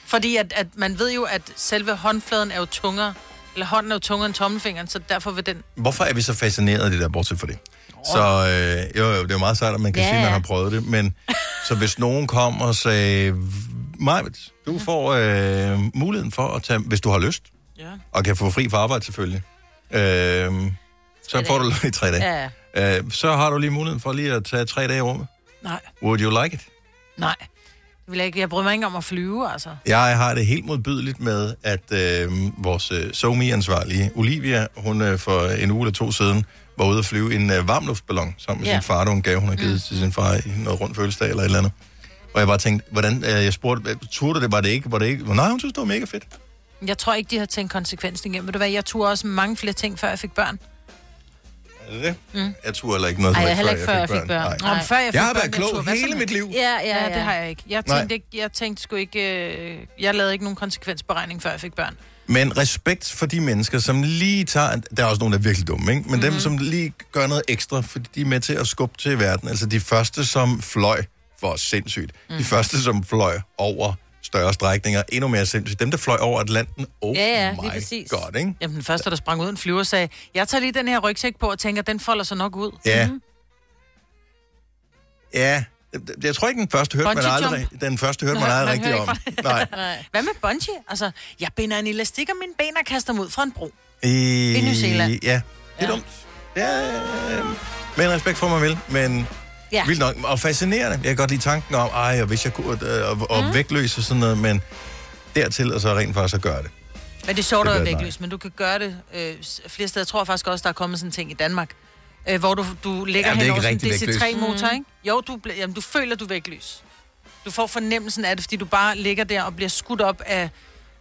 S3: Fordi at, at man ved jo, at selve håndfladen er jo tungere, eller hånden er jo tungere end tommelfingeren, så derfor vil den...
S4: Hvorfor er vi så fascineret af det der, bortset for det? Så øh, jo, jo, det er jo meget sejt, at man kan
S2: Ja,
S4: sige, at man
S2: ja.
S4: har prøvet det, men så hvis nogen kom og sagde, Majbet, du får øh, muligheden for at tage, hvis du har lyst,
S3: Ja.
S4: og kan få fri fra arbejde selvfølgelig. Øh, så får du i tre dage.
S3: Ja.
S4: Ja. Øh, så har du lige muligheden for lige at tage tre dage i rummet.
S3: Nej,
S4: Would you like it?
S3: nej. Det vil jeg, ikke. jeg bryder mig ikke om at flyve, altså.
S4: Jeg har det helt modbydeligt med, at øh, vores øh, SoMe-ansvarlige, Olivia, hun øh, for en uge eller to siden, var ude at flyve i en øh, varmluftballon sammen med
S1: Ja.
S4: sin far, der hun gave, hun har
S3: Mm.
S4: givet til sin far i noget rundt fødselsdag eller et eller andet. Og jeg bare tænkte, hvordan, øh, jeg spurgte, hvad- turde du det, var det ikke, var det ikke? Nej, hun synes, det var mega fedt.
S3: Jeg tror ikke, de har tænkt konsekvensen igennem. Ved du hvad, jeg turde også mange flere ting, før jeg fik børn.
S4: Er det det?
S3: Mm.
S4: Jeg turde heller ikke noget,
S3: Ej,
S4: som
S3: jeg heller ikke, før jeg fik børn.
S4: Nej.
S3: Nå, men før jeg fik
S4: jeg har
S3: børn,
S4: været
S3: jeg
S4: klog
S3: turde være
S4: hele
S3: sådan-
S4: mit liv.
S3: Ja, ja, ja,
S2: ja.
S3: det har jeg ikke. Jeg
S4: Nej.
S3: tænkte, ikke, jeg tænkte sgu ikke... øh, Jeg lavede ikke nogen konsekvensberegning, før jeg fik børn.
S4: Men respekt for de mennesker, som lige tager... Der er også nogle, der er virkelig dumme, ikke? Men mm-hmm.
S3: Mhm.
S4: dem, som lige gør noget ekstra, fordi de er med til at skubbe til verden. Altså de første, som fløj for sindssygt.
S3: Mhm.
S4: Mm. De første, som fløj over større strækninger, endnu mere sindssygt. Dem, der fløj over Atlanten, oh
S3: Ja, ja,
S4: my
S3: lige præcis.
S4: god, ikke?
S3: Jamen, den første, der sprang ud en flyver, sagde, jeg tager lige den her rygsæk på og tænker, den folder sig nok ud.
S4: Ja. Mm-hmm. Ja, jeg- jeg tror ikke, den første hørte man
S3: Bungee
S4: aldrig,
S3: jump.
S4: den første hørte man aldrig rigtig om. Nej.
S3: *laughs* Nej. Hvad med bungee? Altså, jeg binder en elastik om mine ben og kaster dem ud fra en bro.
S4: I,
S3: I New Zealand.
S4: Ja, det er ja. dumt. Ja, øh, men respekt for mig vel, men
S3: Ja.
S4: ja. vildt nok. Og fascinerende. Jeg kan godt lide tanken om, ej, og hvis jeg kunne, øh, og,
S3: Mhm.
S4: og mm. vægtløs og sådan noget, men dertil, og så rent faktisk at gøre det.
S3: Men det er sjovt
S4: Det
S3: at være
S4: bliver et
S3: vægtløs, men du kan gøre det øh, s- flere steder. Jeg tror faktisk også, der er kommet sådan en ting i Danmark, øh, hvor du, du lægger
S4: Ja,
S3: ja,
S4: det er
S3: hen
S4: ikke
S3: over sådan en
S4: rigtig vægtløs.
S3: DC3-motor,
S2: Mm.
S4: Mhm.
S3: ikke? Jo, du, bl- jamen, du føler, du er vægtløs. Du får fornemmelsen af det, fordi du bare ligger der og bliver skudt op af...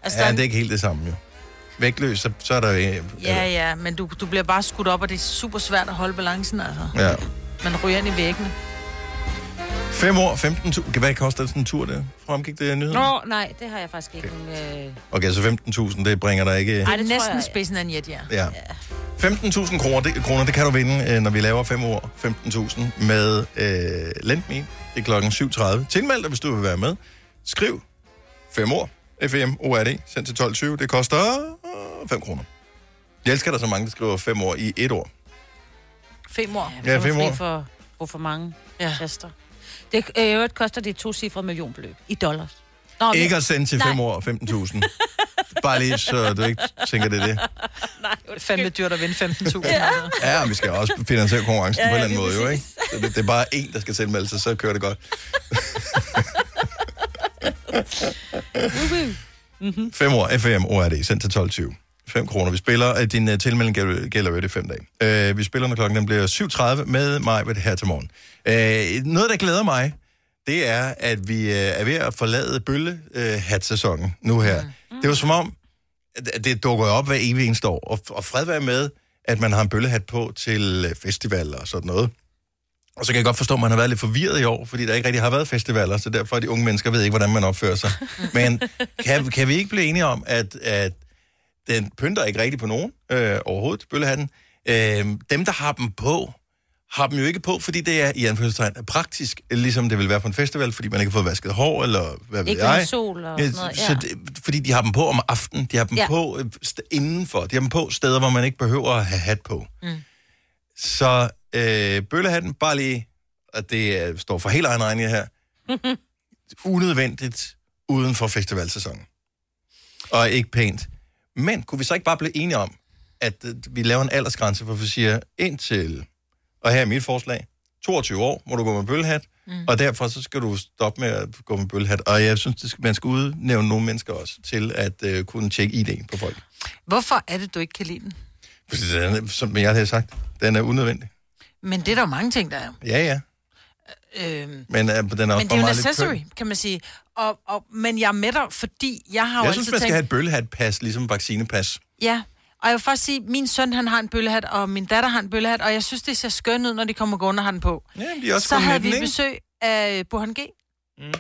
S4: Altså,
S3: der
S4: ja,
S3: er en-
S4: det er ikke helt det samme jo. Vægtløs, så, så er der... Øh,
S3: Ja, ja, men du, du bliver bare skudt op, og det er super svært at holde balancen, altså.
S4: øh, ja.
S3: Man ryger ind i væggene.
S4: 5 år, 15.000. Hvad koster sådan en tur der? Fremgik det nyheden?
S2: Nå, nej, det har jeg faktisk ikke. Okay. Øh...
S4: Okay, så 15.000, det bringer dig ikke...
S3: Ej, det er næsten spidsen af en jet, ja.
S4: Ja. 15.000 kroner det, kroner, det kan du vinde, øh, når vi laver 5 år 15.000 med øh, Lendme. Det er klokken 7.30. Tilmeld dig, hvis du vil være med. Skriv 5 år, FM, ORD, send til 12.20. Det koster 5 kroner. Jeg elsker, at der er så mange, der skriver 5 år i et år.
S3: Fem år.
S4: Ja, fem år.
S2: For, for, for mange ja. tester. Det øh, i øvrigt koster det to cifre millionbeløb i dollars. Nå, men-
S4: Ikke at sende til
S2: Nej.
S4: 5 år 15.000. Bare lige, så du ikke tænker, det er det.
S2: Nej,
S3: det er fandme dyrt at vinde
S2: *laughs*
S3: 15.000.
S2: ja.
S4: Ja, og vi skal også finansiere konkurrencen
S2: Ja,
S4: ja, på en
S2: ja,
S4: eller anden
S2: lige
S4: måde, jo, ikke? Så det, det er bare én, der skal tilmelde sig, så kører det godt.
S2: Mm-hmm.
S4: 5 år, FM, ORD, sendt til 12.20. 5 kroner. Vi spiller, øh, din uh, tilmelding gæl- gælder jo det 5 dage. Uh, vi spiller, når klokken den bliver 7.30 med mig her til morgen. Uh, noget, der glæder mig, det er, at vi uh, er ved at forlade bølle uh, sæsonen nu her. Mm. Det var som om, at- at det dukker op hver evig eneste år. Og, og fred være med, at man har en bøllehat på til øh, festivaler og sådan noget. Og så kan jeg godt forstå, at man har været lidt forvirret i år, fordi der ikke rigtig har været festivaler, så derfor er de unge mennesker ved ikke, hvordan man opfører
S2: *laughs*
S4: sig. Men kan, kan vi ikke blive enige om, at, at den pynter ikke rigtigt på nogen øh, overhovedet, bøllehatten. Øh, dem, der har dem på, har dem jo ikke på, fordi det er i anførselstegn praktisk, ligesom det vil være på en festival, fordi man ikke har fået vasket hår, eller hvad ved
S2: Ikke
S4: jeg.
S2: noget sol og sådan noget,
S4: Så
S2: ja.
S4: det, fordi de har dem på om aftenen, de har dem
S2: Ja.
S4: ja. på øh, st- indenfor, de har dem på steder, hvor man ikke behøver at have hat på.
S2: Mm.
S4: Så øh, bøllehatten, bare lige, og det øh, står for helt egen regning her, unødvendigt uden for festivalsæsonen. Og ikke pænt. Men kunne vi så ikke bare blive enige om, at øh, vi laver en aldersgrænse, hvor vi siger indtil, og her er mit forslag, 22 år må du gå med bøllehat, mm. og derfor så skal du stoppe med at gå med bøllehat. Og jeg synes, det skal, man skal udnævne nogle mennesker også til at øh, kunne tjekke ID'en på folk.
S3: Hvorfor er det, du ikke kan lide den?
S4: Fordi den er, som jeg havde sagt, den er unødvendig.
S3: Men det er der jo mange ting, der er.
S4: Ja, ja.
S3: Øhm,
S4: Men øh, den er også
S3: men det er jo
S4: bare
S3: en
S4: meget lidt
S3: accessory,
S4: køn.
S3: kan man sige. Og, og, men jeg er med dig, fordi jeg har jo
S4: Jeg
S3: altid
S4: synes, man skal
S3: tænkt...
S4: have et bøllehatpas, ligesom vaccinepas.
S3: Ja, og jeg vil faktisk sige, at min søn han har en bøllehat, og min datter har en bøllehat, og jeg synes, det ser skønt ud, når de kommer gående og har den på.
S4: Ja, men de er også
S3: Så
S4: gået med
S3: havde
S4: den,
S3: vi
S4: ikke?
S3: besøg af øh, Burhan G., mm.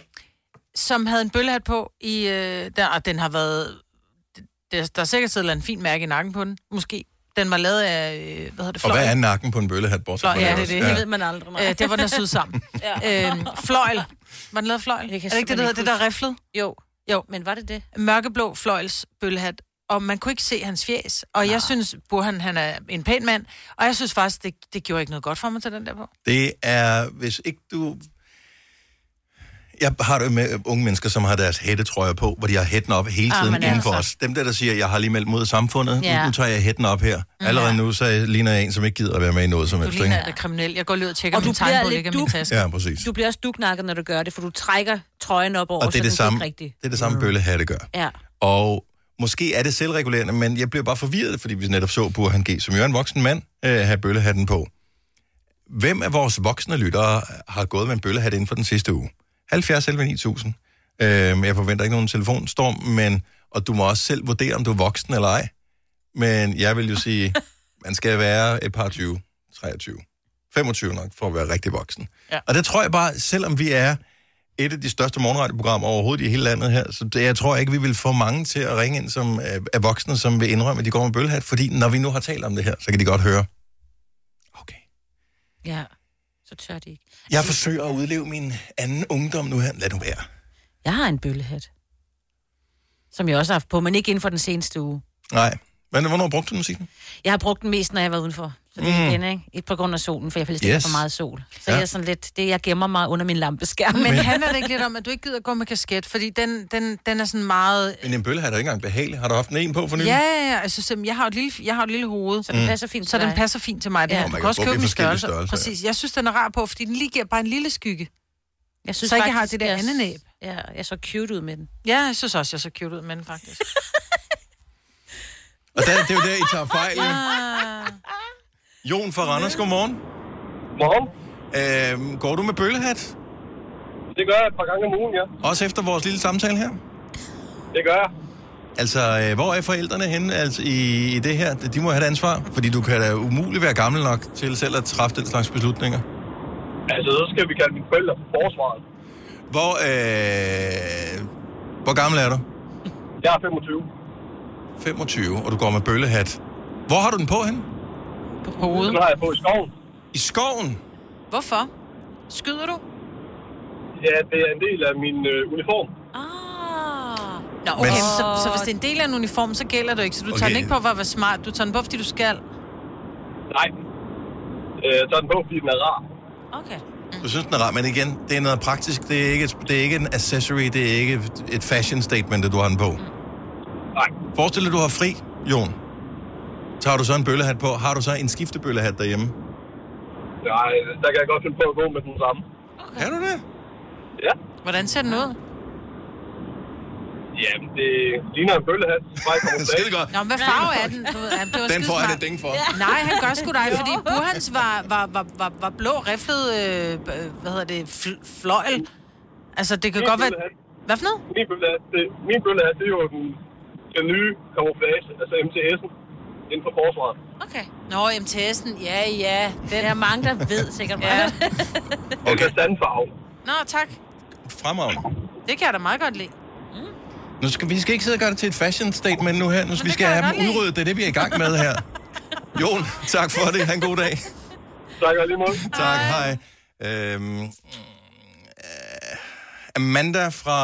S3: som havde en bøllehat på, i, øh, der, og den har været... Der, der er sikkert siddet et eller andet fint mærke i nakken på den, måske. Den var lavet af... øh, Hvad hedder det?
S4: Og hvad
S3: fløjl.
S4: er nakken på en bøllehat, bortset
S3: Nå,
S4: fra
S3: ja, det er
S4: også?
S3: det. Det ved man aldrig, nej. Øh, det var den, der syede
S2: *laughs*
S3: sammen. *laughs* ja. øhm, fløjl. Var den lavet af fløjl? Det er det ikke det, der
S2: simpelthen
S3: hedder det, der
S2: ikke
S3: riflede?
S2: Jo.
S3: Jo.
S2: Men var det det?
S3: Mørkeblå fløjls bøllehat. Og man kunne ikke se hans fjes. Og jeg synes, Burhan, han er en pæn mand. Og jeg synes faktisk, det, det gjorde ikke noget godt for mig til den der på.
S4: Det er, hvis ikke du... Jeg har det med unge mennesker, som har deres hættetrøjer på, hvor de har hætten op hele
S2: Ah,
S4: tiden
S2: men
S4: ah, inden for
S2: altså.
S4: os. Dem der, der siger, jeg har lige meldt mod samfundet,
S3: Ja.
S4: ja. nu tager jeg hætten op her. Allerede nu, så ligner jeg en, som ikke gider at være med i noget som
S3: Du
S4: helst.
S3: ligner
S4: ikke?
S3: da kriminel. Jeg går lige ud og tjekker,
S2: Og
S3: om
S2: du
S3: min
S2: bliver
S3: tegnbog
S2: lidt
S3: ligger i min
S2: duk.
S3: taske.
S4: Ja, præcis.
S2: Du bliver også duknakket, når du gør det, for du trækker trøjen op over,
S4: Og det
S2: så
S4: er det
S2: den
S4: samme,
S2: ikke
S4: det
S2: rigtigt.
S4: er det samme bøllehatte gør.
S2: Ja.
S4: Og måske er det selvregulerende, men jeg blev bare forvirret, fordi vi netop så Burhan G., som jo er en voksen mand, øh, have bøllehatten på. Hvem af vores voksne lyttere har gået med en bøllehat inden for den sidste uge? 70 11 9000. Øh, jeg forventer ikke nogen telefonstorm, men, og du må også selv vurdere, om du er voksen eller ej. Men jeg vil jo sige, man skal være et par 20, 23, 25 nok, for at være rigtig voksen.
S3: Ja.
S4: Og det tror jeg bare, selvom vi er et af de største morgenradioprogrammer overhovedet i hele landet her, så det, jeg tror ikke, vi vil få mange til at ringe ind, som er, er voksne, som vil indrømme, at de går med bøllehat, fordi når vi nu har talt om det her, så kan de godt høre.
S2: Ja, så tør de ikke.
S4: Jeg forsøger at udleve min anden ungdom nu her. Lad nu være.
S2: Jeg har en bøllehat. Som jeg også har haft på, men ikke inden for den seneste uge.
S4: Nej. Men hvornår brugte du den, Signe?
S2: Jeg har brugt den mest, når jeg har været udenfor. Så det er
S4: Mm.
S2: igen, ikke? Ikke på grund af solen, for jeg helst ikke
S4: Yes.
S2: for meget sol. Så
S4: Ja.
S2: ja. jeg er sådan lidt, det jeg gemmer mig under min lampeskærm.
S3: Men handler det ikke lidt om, at du ikke gider gå med kasket? Fordi den, den, den er sådan meget...
S4: Men en bøllehat er jo ikke engang behagelig. Har du haft en på for nylig?
S3: Ja, ja, ja. Altså, simpelthen, jeg har jo et lille, jeg har et lille hoved. Så
S4: den Mm. passer
S2: fint
S3: Så
S2: til
S3: den
S2: dig.
S3: passer fint til mig. Det
S2: Ja.
S3: her.
S2: Og man
S3: Du kan
S4: kan
S3: også
S4: bruge
S3: købe
S4: i
S3: min
S4: forskellige
S3: størrelse.
S4: størrelser, ja.
S3: Præcis. Jeg synes, den er rar på, fordi den lige giver bare en lille skygge.
S2: Jeg
S3: synes så ikke jeg har det der
S2: jeg,
S3: andet næb.
S2: Ja, jeg så cute ud med den.
S3: Ja, jeg synes også, jeg så cute ud med den, faktisk.
S4: Og der, det er jo der, I tager fejl. jo.
S3: Ah.
S4: Jon fra Randers, godmorgen.
S15: Morgen.
S4: Øhm, går du med bøllehat?
S15: Det gør jeg et par gange om ugen, ja.
S4: Også efter vores lille samtale her?
S15: Det gør jeg.
S4: Altså, øh, hvor er forældrene henne altså, i, i det her? De må have et ansvar, fordi du kan da umuligt være gammel nok til selv at træffe den slags beslutninger.
S15: Altså, så skal vi kalde mine forældre for forsvaret.
S4: Hvor, øh, hvor gammel er du?
S15: Jeg er 25.
S4: 25, og du går med bøllehat. Hvor har du den på henne?
S3: På hovedet.
S15: Den har jeg på i skoven.
S4: I skoven?
S3: Hvorfor? Skyder du?
S15: Ja, det er en del af min øh, uniform.
S3: Ah. Nå, okay, men...
S15: Men-
S3: så, så hvis det er en del af en uniform, så gælder det ikke. Så du okay. tager
S15: Okay.
S3: den ikke på for at være smart. Du tager den på, fordi du skal.
S15: Nej. Øh, jeg tager den på, fordi den er rar.
S2: Okay.
S4: Du synes, den er rar, men igen, det er noget praktisk. Det er ikke, et- det er ikke en accessory, det er ikke et fashion statement, at du har den på.
S15: Nej.
S4: Forestil dig, du har fri, Jon. Tager du så en bøllehat på? Har du så en skiftebøllehat derhjemme?
S15: Nej, der kan jeg godt finde på at gå med den samme.
S4: Okay. Er du det?
S15: Ja.
S3: Hvordan ser den ud?
S15: Jamen, det ligner en bøllehat.
S4: *laughs*
S15: Skide
S4: godt.
S3: Nå, men hvad farve er den? Du ved, ja, det var
S15: Den får
S3: skidesmart.
S15: han et ding for.
S3: Nej, han gør sgu dig, fordi Burhans var, var, var, var, var blå riflet, øh, øh, hvad hedder det, fl- fløjl. Altså, det kan
S15: Min
S3: godt være...
S15: bøllehat.
S3: Hvad for noget?
S15: Min bøllehat, det, min bøllehat, det er jo den, den nye camouflage, altså MTS'en, inden for forsvaret.
S3: Okay. Nå, MTS'en, ja, ja. Den... Der er
S2: mange, der ved sikkert
S3: ja.
S15: Okay. Sandfarve.
S3: Nå, tak.
S4: Fremragende.
S3: Det kan jeg da meget godt lide.
S4: Nu skal, vi skal ikke sidde og gøre det til et fashion statement nu her. Nu, vi skal
S3: kan jeg
S4: have dem
S3: godt lide.
S4: udryddet. Det er det, vi er i gang med her. Jon, tak for det. Ha' en god dag.
S15: Tak, og lige måde.
S4: Tak, hej. Øhm, øh, Amanda fra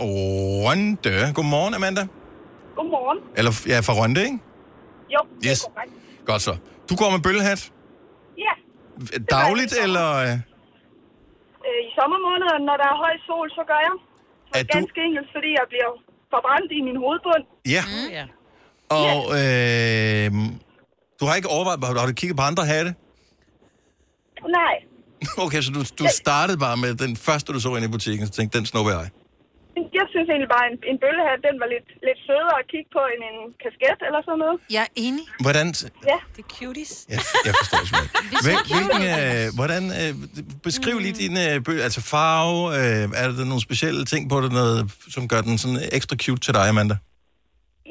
S4: Rønde. Godmorgen, Amanda.
S16: Godmorgen.
S4: Eller ja, fra Rønde, ikke?
S16: Jo,
S4: Yes. Godt så. Du går med bøllehat
S16: ja.
S4: dagligt, eller øh,
S16: Øh, I sommermånederne, når der er høj sol, så gør jeg.
S4: er du...
S16: Ganske enkelt, fordi jeg bliver forbrændt i min hovedbund.
S4: Ja.
S16: ja.
S4: Og øh, du har ikke overvejet, har du- har du kigget på andre hatte? *laughs*
S16: Nej,
S4: Okay, så du, du startede bare med den første, du så ind i butikken, så tænkte, den snupper jeg.
S16: jeg synes egentlig bare, at en, en bøllehat, den var lidt, lidt sødere at kigge på end en kasket eller sådan noget.
S3: Jeg er enig.
S4: Hvordan...
S16: Ja.
S2: Det er cuties.
S4: Jeg, jeg forstår det Hvil, hvilken, øh, hvordan, øh, beskriv lige din øh, bøl, altså farve, øh, er der nogle specielle ting på det, noget, som gør den sådan ekstra cute til dig, Amanda?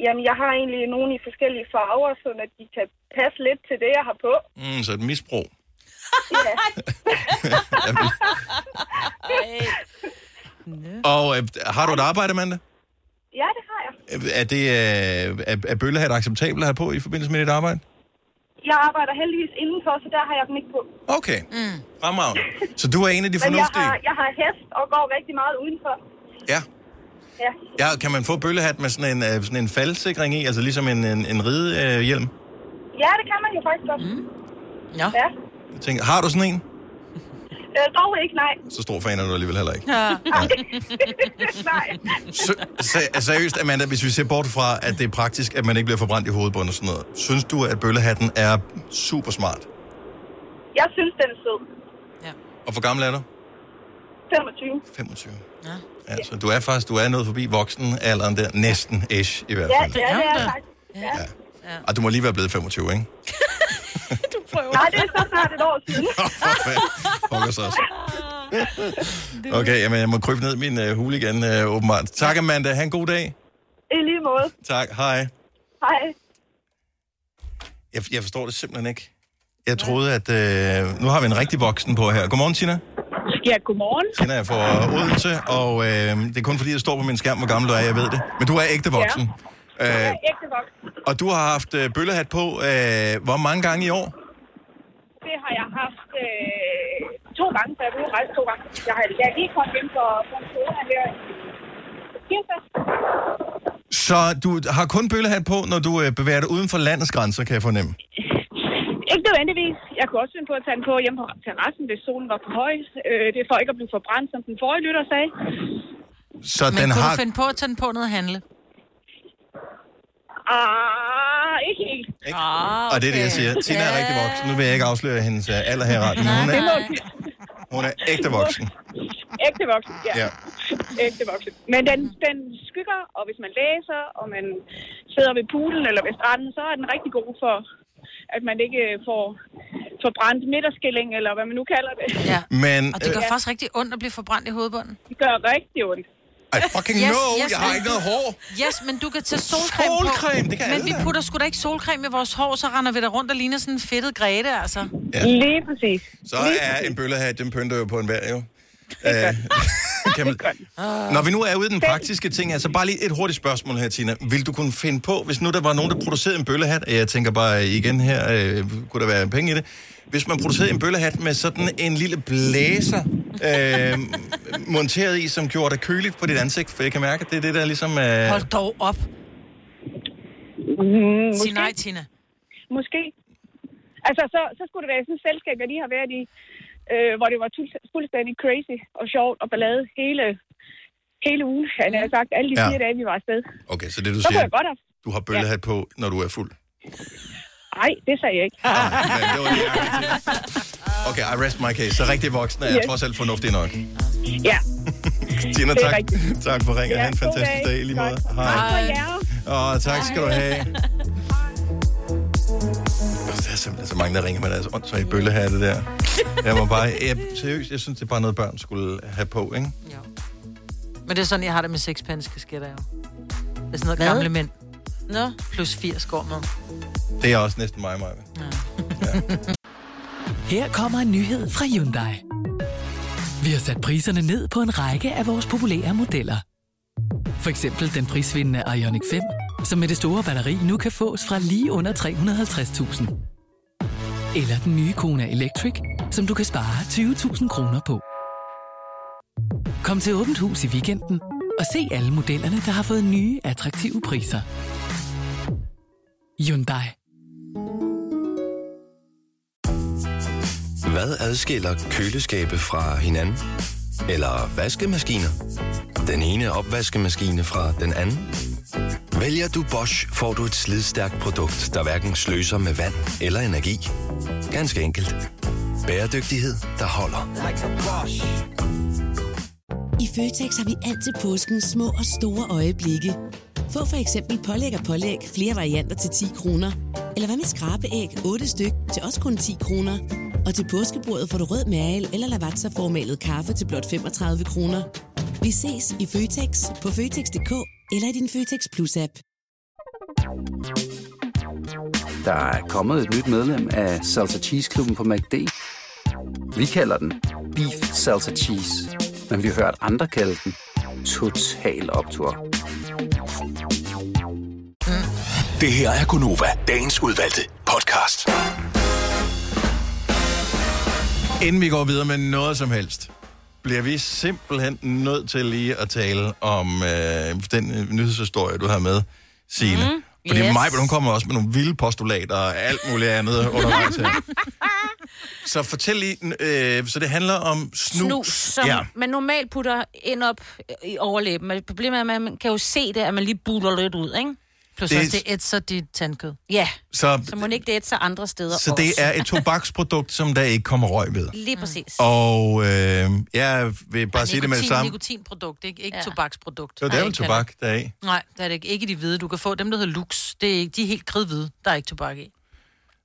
S16: Jamen, jeg har egentlig nogle i forskellige farver, så at de kan passe lidt til det, jeg har på.
S4: Mm, så et misbrug.
S16: Ja.
S1: Øh,
S4: Og øh, har du et arbejde, Amanda?
S16: ja, det har jeg.
S4: Er, det, øh, er, er bøllehat acceptabelt at have på i forbindelse med dit arbejde?
S16: Jeg arbejder heldigvis indenfor, så der har jeg dem ikke på.
S4: Okay, mm. fremragende. Så du er en af de
S16: Men jeg
S4: fornuftige?
S16: har, jeg har hest og går rigtig meget udenfor.
S4: Ja.
S16: Ja.
S4: Ja, kan man få bøllehat med sådan en, øh, sådan en faldsikring i, altså ligesom en, en, en ridehjelm?
S16: ja, det kan man jo faktisk godt. Mm.
S3: Ja.
S16: ja.
S4: Jeg tænker, har du sådan en?
S1: Øh, dog ikke, nej.
S4: Så stor fan er du alligevel heller ikke.
S1: Ja. nej.
S4: Så, se, seriøst, Amanda, hvis vi ser bort fra, at det er praktisk, at man ikke bliver forbrændt i hovedbunden og sådan noget. Synes du, at bøllehatten er super smart?
S1: Jeg synes, den er sød.
S4: Og hvor gammel er du?
S1: 25.
S4: 25. Ja, så du er faktisk du er noget forbi voksenalderen der. Næsten ish, i hvert
S1: Ja,
S4: fald.
S1: ja, det er jeg faktisk. Ja.
S4: Og du må lige være blevet 25, ikke?
S1: Du prøver. Nej, det er så snart et år siden.
S4: Pokker så også.
S6: Mhm.
S4: Okay, jamen, jeg må krybe ned i min øh, hule igen, øh, åbenbart. Tak, Amanda. Ha' en god dag.
S1: I lige måde.
S4: Tak. Hej.
S1: Hej.
S4: Jeg, jeg forstår det simpelthen ikke. Jeg troede, at... Øh, nu har vi en rigtig voksen på her. Godmorgen, Tina.
S16: Ja, godmorgen.
S4: Tina er fra Odense, og øh, det er kun fordi, det står på min skærm, hvor gammel du er, jeg ved det. Men du er ægte voksen.
S16: Jeg
S4: Ja. Øh,
S16: er ægte voksen.
S4: og du har haft øh, bøllehat på, øh, hvor mange gange i år?
S16: Det har jeg haft øh, to gange, for jeg blev rejse to gange. Jeg har jeg er lige kommet ind for for en corona her i tirsdag.
S4: Så du har kun bøllehat på, når du øh, bevæger dig uden for landets grænser, kan jeg fornemme.
S16: Ikke nødvendigvis. Jeg kunne også finde på at tage den på hjemme på terrassen, hvis solen var for høj. Øh, det er for ikke at blive forbrændt, som den forrige lytter sagde.
S4: Så
S3: Men
S4: den
S3: kunne
S4: har...
S3: du finde på at tage den på ned og handle?
S16: Ah, ikke helt. Ikke? Ah,
S4: Og det er det, jeg siger. Tina er rigtig voksen. Nu vil jeg ikke afsløre hendes øh, alder her i radioen, men hun
S16: Det må *laughs*
S4: er, hun er ægte voksen.
S16: ægte voksen, ja.
S4: Ja.
S16: ja. Ægte voksen. Men den, den skygger, og hvis man læser, og man sidder ved poolen eller ved stranden, så er den rigtig god for, at man ikke øh, får forbrændt midterskilling, eller hvad man nu kalder det. Ja.
S4: Men... øh,
S3: Og det gør faktisk rigtig ondt at blive forbrændt i hovedbunden.
S16: Det gør rigtig ondt.
S4: I fucking know, jeg har ikke noget hår.
S3: Yes, men du kan tage solcreme,
S4: Solcreme,
S3: på.
S4: det kan
S3: Men
S4: alle
S3: vi
S4: da.
S3: putter sgu da ikke solcreme i vores hår, så render vi der rundt og ligner sådan en fedtet græde, altså.
S4: Ja.
S16: Lige præcis.
S4: Så er en bøllehat, den pynter jo på en vær, jo. Øh, kan man... Når vi nu er ude i den praktiske ting, altså bare lige et hurtigt spørgsmål her, Tina. Vil du kunne finde på, hvis nu der var nogen, der producerede en bøllehat, og jeg tænker bare igen her, øh, kunne der være penge i det? Hvis man producerede en bøllehat med sådan en lille blæser øh, monteret i, som gjorde dig køligt på dit ansigt, for jeg kan mærke, at det er det, der ligesom... Øh...
S3: Hold dog op.
S16: Mm,
S3: Sig
S16: måske.
S3: nej,
S4: *laughs*
S3: Tina.
S16: Måske. Altså, så, så skulle det være sådan et selskab, jeg lige har været i, øh, hvor det var tul- fuldstændig crazy og sjovt og ballade hele, hele ugen. Han har sagt alle de
S4: Ja.
S16: fire dage, vi var afsted.
S4: Okay, så det du
S16: Så kunne
S4: siger,
S16: jeg godt have...
S4: du har bøllehat på, når du er fuld.
S16: Nej, det sagde jeg ikke.
S4: Okay, I rest my case. Så rigtig voksne er
S16: Yes.
S4: yes. trods alt fornuftige nok.
S16: ja.
S4: *laughs* Tina,
S16: Det er
S4: tak, tak for ringen.
S16: Ja,
S4: Ja, ha'
S16: god
S4: en fantastisk
S16: dag.
S4: dag i lige måde.
S16: Tak. Tak
S4: Hej.
S16: for jer.
S4: Og tak skal du have. Der er simpelthen så mange, der ringer med deres åndssvage bøllehatte der. Jeg må bare... Jeg, seriøst, jeg synes, det er bare noget, børn skulle have på, ikke?
S3: Men det er sådan, jeg har det med sexpence kasketter, jo. Det er sådan noget
S17: Hvad?
S3: gamle mænd.
S17: Nå.
S3: Plus 80 går med.
S4: Det er også næsten mig, mig.
S5: Her kommer en nyhed fra Hyundai. Vi har sat priserne ned på en række af vores populære modeller. For eksempel den prisvindende Ioniq 5, som med det store batteri nu kan fås fra lige under 350.000. Eller den nye Kona Electric, som du kan spare 20.000 kroner på. Kom til Åbent Hus i weekenden og se alle modellerne, der har fået nye, attraktive priser. Hyundai.
S7: Hvad adskiller køleskabe fra hinanden? Eller vaskemaskiner? Den ene opvaskemaskine fra den anden? Vælger du Bosch, får du et slidstærkt produkt, der hverken sløser med vand eller energi. Ganske enkelt. Bæredygtighed, der holder.
S18: Like a Bosch.
S13: I Føtex har vi altid påskens små og store øjeblikke. Få for eksempel pålæg og pålæg flere varianter til 10 kroner. Eller hvad med skrabeæg 8 styk til også kun 10 kroner. Og til påskebordet får du rød mal eller lavatserformalet kaffe til blot 35 kroner. Vi ses i Føtex på Føtex.dk eller i din Føtex Plus-app.
S14: Der er kommet et nyt medlem af Salsa Cheese Klubben på MACD. Vi kalder den Beef Salsa Cheese, men vi har hørt andre kalde den Total Optor.
S19: Det her er Gunova, dagens udvalgte podcast.
S4: Inden vi går videre med noget som helst, bliver vi simpelthen nødt til lige at tale om øh, den øh, nyhedshistorie, du har med, Signe. Mm,
S20: Mm,
S4: Fordi yes.
S20: yes.
S4: *laughs* Majbel, hun kommer også med nogle vilde postulater og alt muligt andet undervejs her. Så fortæl lige, øh, så det handler om snus.
S2: snus, som ja.
S4: ja.
S2: man normalt putter ind op i overlæben. Men problemet er, at man kan jo se det, at man lige buler lidt ud, ikke?
S4: Plus Det er- også, det
S2: ætser dit tandkød. Ja,
S4: Så-
S2: så, så må det ikke det ætser andre steder
S4: Så det
S2: også.
S4: er et tobaksprodukt, som der ikke kommer røg ved.
S2: *laughs* Lige præcis.
S4: Og øh, jeg vil bare sige det med det
S3: Nikotin-
S4: samme.
S3: Nikotinprodukt, ikke, ikke ja. tobaksprodukt.
S4: Jo, det er
S3: Nej,
S4: jo
S3: ikke
S4: tobak, der er i.
S3: heller. Nej, det er det ikke. Ikke de hvide. Du kan få dem, der hedder Lux. Det er ikke, de er helt kridhvide. Der er ikke tobak i.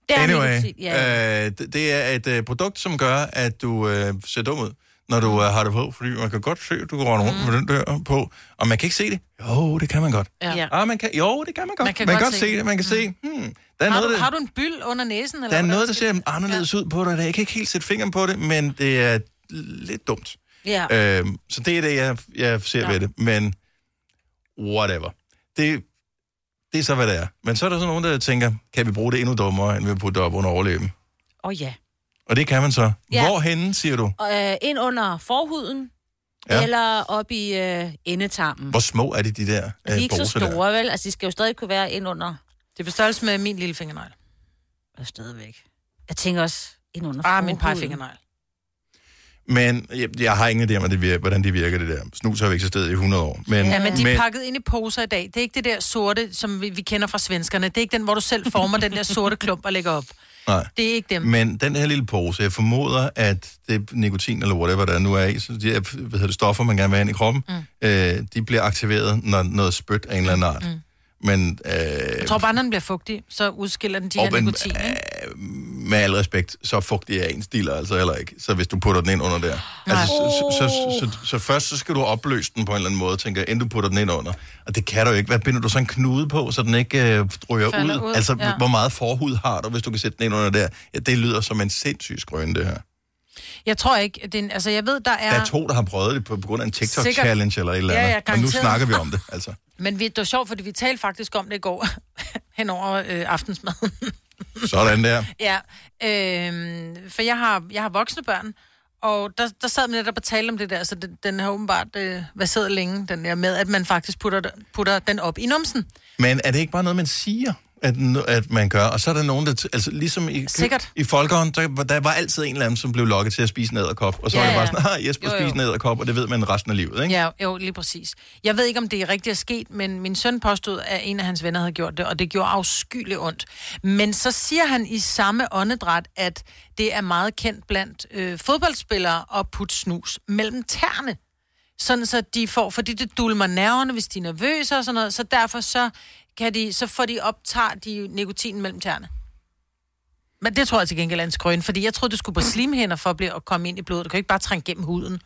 S4: Anyway, øh, det- det er et øh, produkt, som gør, at du øh, ser dum ud, når du øh, har det på. Fordi man kan godt se, at du går rundt mm. med den der på. Og man kan ikke se det. Jo, det kan man godt.
S3: Ja.
S4: Ah, man kan, jo, det kan man godt. Man kan, man godt, se det. Man kan se, hmm, der er
S3: har,
S4: noget,
S3: du,
S4: der-
S3: har du en byld under næsen? Eller
S4: Der er
S3: hvordan
S4: noget, der
S3: skal
S4: ser anderledes ud på dig. Jeg kan ikke helt sætte fingeren på det, men det er lidt dumt.
S2: Ja.
S4: Øhm, så det er det, jeg, jeg ser ja. ved det. Men whatever. Det, det er så, hvad det er. Men så er der sådan nogen, der tænker, kan vi bruge det endnu dummere, end vi putter op under overleben?
S2: Åh oh, ja.
S4: Og det kan man så.
S2: Ja.
S4: Ja. Hvorhenne, siger du?
S2: Og, øh, ind under forhuden,
S4: Ja.
S2: ja. eller op i øh, endetarmen.
S4: Hvor små er de, de der
S2: De er
S4: øh,
S2: ikke så
S4: poser der?
S2: store, vel? Altså, de skal jo stadig kunne være ind under...
S3: Det er på størrelse med min lille fingernegl.
S2: Og stadigvæk. Jeg tænker også ind under
S3: Ah, min
S2: forhuden.
S3: pegefingernegl.
S4: Men jeg, jeg har ingen idé om, hvad det virker, hvordan det virker, det der. Snus har jo eksisteret i 100 år. Men,
S3: Men, ja, men de er pakket ind i poser i dag. Det er ikke det der sorte, som vi, vi kender fra svenskerne. Det er ikke den, hvor du selv former den der sorte klump og lægger op.
S4: Nej.
S3: Det er ikke dem.
S4: Men den her lille pose, jeg formoder, at det er nikotin eller whatever, der nu er i, så de her hvad hedder det, stoffer, man gerne vil have ind i kroppen, mm. øh, de bliver aktiveret, når noget spyt af en eller anden art. Mm. Men øh,
S3: Jeg tror bare, når den bliver fugtig, så udskiller den de
S4: Og
S3: her
S4: men-
S3: nikotin. ikke?
S4: med al respekt, så fugtig er ens dealer altså heller ikke, så hvis du putter den ind under der. Altså, så, så, så, så, så først så skal du opløse den på en eller anden måde, tænker jeg, inden du putter den ind under. Og det kan du ikke. Hvad binder du så en knude på, så den ikke øh, ryger
S8: Falder
S4: ud?
S8: ud,
S4: Altså,
S8: ja.
S4: hvor meget forhud har du, hvis du kan sætte den ind under der? Ja, det lyder som en sindssyg skrøne, det her.
S3: Jeg tror ikke, at det er en, altså jeg ved, der
S4: Ja. Der er
S3: er...
S4: to, der har prøvet det på, på grund af en
S3: Sikkert.
S4: TikTok-challenge eller et eller
S3: Ja,
S4: andet.
S3: ja,
S4: og nu
S3: garanteret.
S4: snakker vi om det, altså.
S3: Men vi, det var sjovt, fordi vi talte faktisk om det i går *laughs* hen over øh, aftensmaden.
S4: Sådan der.
S3: Ja, øh, for jeg har, jeg har voksne børn, og der, der sad man netop og talte om det der, så den, den har åbenbart øh, været siddet længe, den der med, at man faktisk putter, putter den op i numsen.
S4: Men er det ikke bare noget, man siger, at, n- at man gør? Og så er der nogen, der... T- altså, ligesom i,
S3: Sikkert.
S4: i folkehånd, der, var- der var altid en eller anden, som blev lokket til at spise en æderkop. Og så
S3: Ja,
S4: ja, var det bare
S3: ja.
S4: sådan, ah, Jesper
S3: Jo, jo.
S4: spiser en æderkop, og det ved man resten af livet, ikke?
S3: Ja, jo, lige præcis. Jeg ved ikke, om det er rigtigt er sket, men min søn påstod, at en af hans venner havde gjort det, og det gjorde afskyeligt ondt. Men så siger han i samme åndedræt, at det er meget kendt blandt øh, fodboldspillere at putte snus mellem tæerne. Sådan så de får, fordi det dulmer nerverne, hvis de er nervøse og sådan noget, så derfor så, kan de, så får de optager de nikotinen mellem tæerne. Men det tror jeg til gengæld er en skrøn, fordi jeg troede, du skulle på slimhænder for at, blive, at komme ind i blodet. Du kan jo ikke bare trænge gennem huden.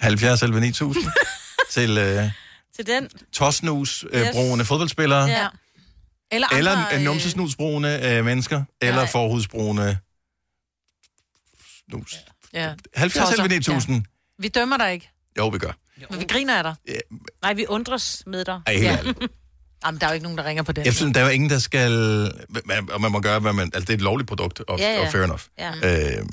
S4: 70 eller 9000
S3: *laughs*
S4: til øh,
S2: Til den.
S4: tosnusbrugende
S2: Yes.
S4: øh, brugende fodboldspillere.
S2: Ja.
S3: Eller,
S4: Eller
S3: andre,
S4: øh, numsesnusbrugende øh, mennesker. Eller forhudsbrugende snus.
S3: Ja.
S4: 70 eller 9000.
S3: Vi dømmer dig ikke,
S4: Jo, vi gør.
S3: men vi griner af dig.
S4: Ja.
S2: Nej, vi undres med dig.
S4: Ej, helt ærligt.
S3: *laughs* Jamen, der er jo ikke nogen, der ringer på den.
S4: Jeg synes, der er jo ingen, der skal... man- Og man må gøre, hvad man... Altså, det er et lovligt produkt, og,
S3: Ja,
S4: ja,
S3: ja.
S4: ja. og fair enough.
S3: Ja.
S4: Øh,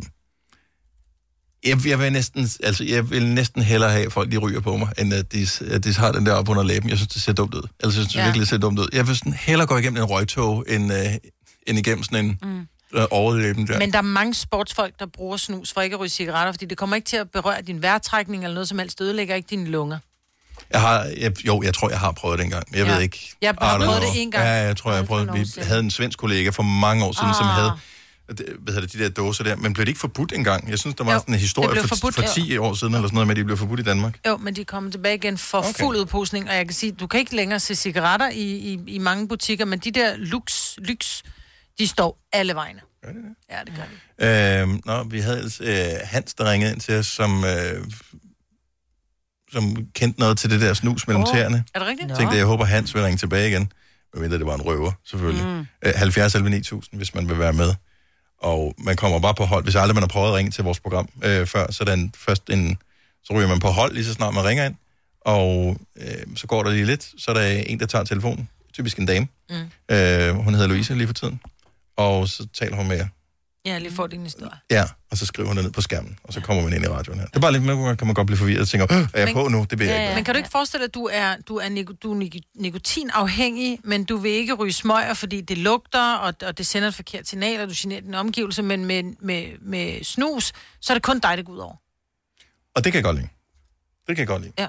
S4: jeg, jeg, vil næsten, altså, jeg vil næsten hellere have, at folk de ryger på mig, end at de, at de har den der op under læben. Jeg synes, det ser dumt ud. Altså, jeg synes ja.
S8: Ja.
S4: virkelig, det ser dumt ud. Jeg vil sådan hellere gå igennem en røgtog, end, øh, end igennem sådan en
S3: Mm.
S4: øh, overlæben der.
S3: Men der er mange sportsfolk, der bruger snus for ikke at ryge cigaretter, fordi det kommer ikke til at berøre din vejrtrækning eller noget som helst. Det ødelægger ikke dine lunger.
S4: Jeg har, jeg, jo, jeg tror, jeg har prøvet det engang, men jeg
S3: Ja.
S4: ved ikke.
S3: Jeg har
S4: I don't
S3: prøvet
S4: know.
S3: det en gang.
S4: Ja, jeg tror, jeg har prøvet Vi
S3: nogensinde.
S4: havde en svensk kollega for mange år siden, ah. som
S3: Ah.
S4: havde det- hvad hedder det, de der dåser der, men blev det ikke forbudt engang? Jeg synes, der var
S3: Jo,
S4: sådan en
S3: det
S4: historie
S3: blev
S4: for,
S3: forbudt,
S4: for
S3: ja.
S4: 10 år siden, eller sådan noget med, at de blev forbudt i Danmark.
S3: Jo, men de kommer tilbage igen for okay. fuld udposning, og jeg kan sige, du kan ikke længere se cigaretter i, i, i mange butikker, men de der lux, lux, de står alle vegne.
S4: Gør det
S3: Ja, det gør de.
S4: Øh, nå, vi havde ellers, øh, Hans, der ringede ind til os, som, øh, som kendte noget til det der snus mellem
S8: Åh,
S4: tæerne.
S8: er det rigtigt?
S4: Jeg
S8: Nå.
S4: tænkte, jeg håber, Hans vil ringe tilbage igen. Men det var en røver, selvfølgelig.
S8: Mm.
S4: Mm. 70 11 9000, hvis man vil være med. Og man kommer bare på hold. Hvis aldrig man har prøvet at ringe til vores program øh, før, så, er den først en, så ryger man på hold, lige så snart man ringer ind. Og øh, så går der lige lidt, så er der en, der tager telefonen. Typisk en dame.
S3: Mm.
S4: Øh, hun hedder Louise lige for tiden. Og så taler hun med jer.
S3: Ja, lige får din historie.
S4: Ja, og så skriver hun det ned på skærmen, og så kommer man ind i radioen her. Det er bare lidt med, hvor kan man godt blive forvirret og tænke, "Åh, er jeg på nu? Det bliver jeg ikke.
S3: Men kan du ikke forestille dig, at du er, du er, nik- du er nik- nikotinafhængig, men du vil ikke ryge smøger, fordi det lugter, og, og det sender et forkert signal, og du generer din omgivelse, men med, med, med snus, så er det kun dig, det går ud over.
S4: Og det kan jeg godt lide. Det kan jeg godt lide.
S3: Ja.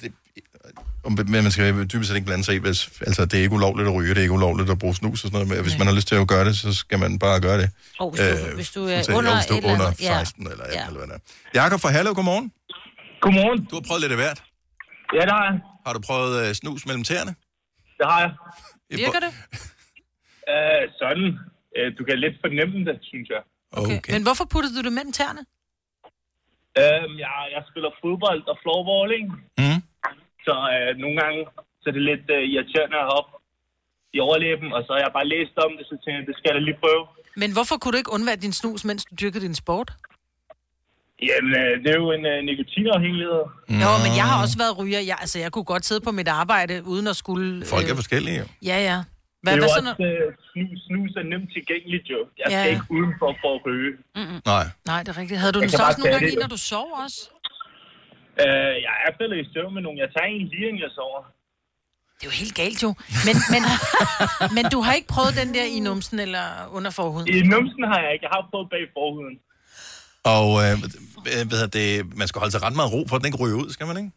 S4: Det, om- men man skal jo dybest set ikke blande sig i, hvis, altså det er ikke ulovligt at ryge, det er ikke ulovligt at bruge snus og sådan noget, men hvis man har lyst til at gøre det, så skal man bare gøre det. Øh,
S2: Og hvis du- hvis du er
S4: fuldstændig.
S2: under
S4: Og hvis du
S2: et eller
S4: er under
S2: andet, ja.
S4: 16 eller 18 eller hvad det er. Jakob fra Hallo, godmorgen.
S15: Godmorgen.
S4: Du har prøvet lidt af hvert.
S15: Ja, det har jeg.
S4: Har du prøvet øh, snus mellem tæerne?
S15: Det har jeg.
S3: Virker det?
S15: Øh, sådan. Øh, du kan lidt fornemme det, synes jeg.
S4: Okay.
S3: Men hvorfor puttede du det mellem tæerne?
S15: Øhm, jeg, jeg spiller fodbold og floorball, ikke?
S4: Mm.
S15: Så øh, nogle gange så er det lidt øh, irriterende at hoppe i overlæben, og så har jeg bare læst om det, så tænker jeg, det skal jeg da lige prøve.
S3: Men hvorfor kunne du ikke undvære din snus, mens du dyrkede din sport?
S15: Jamen, øh, det er jo en øh, nikotinafhængighed.
S3: Mm. Jo, men jeg har også været ryger. Jeg, altså, jeg kunne godt sidde på mit arbejde, uden at skulle... øh,
S4: Folk er forskellige, jo.
S3: Ja, ja.
S15: Hvad, det er
S3: hvad
S15: jo
S3: så,
S15: også, øh, snus, snus er nemt tilgængeligt, jo. Jeg
S3: Ja,
S15: skal
S3: ja.
S15: ikke udenfor for at ryge.
S3: Mm-mm.
S4: Nej.
S3: Nej, det er rigtigt. Havde du
S15: Jeg
S3: den
S15: kan
S3: så
S15: bare
S3: også nogle
S15: tage
S3: gange,
S15: det,
S3: i, når
S15: jo.
S3: du sov også?
S15: Øh, jeg er faldet i søvn med nogen. Jeg tager en lige, inden jeg sover.
S3: Det er jo helt galt jo. Men, men, men du har ikke prøvet den der i numsen eller under forhuden?
S15: I numsen har jeg ikke. Jeg har prøvet bag forhuden.
S4: Og øh, øh, hvad hedder det, man skal holde sig ret meget ro, for at den ikke ryger ud, skal man ikke?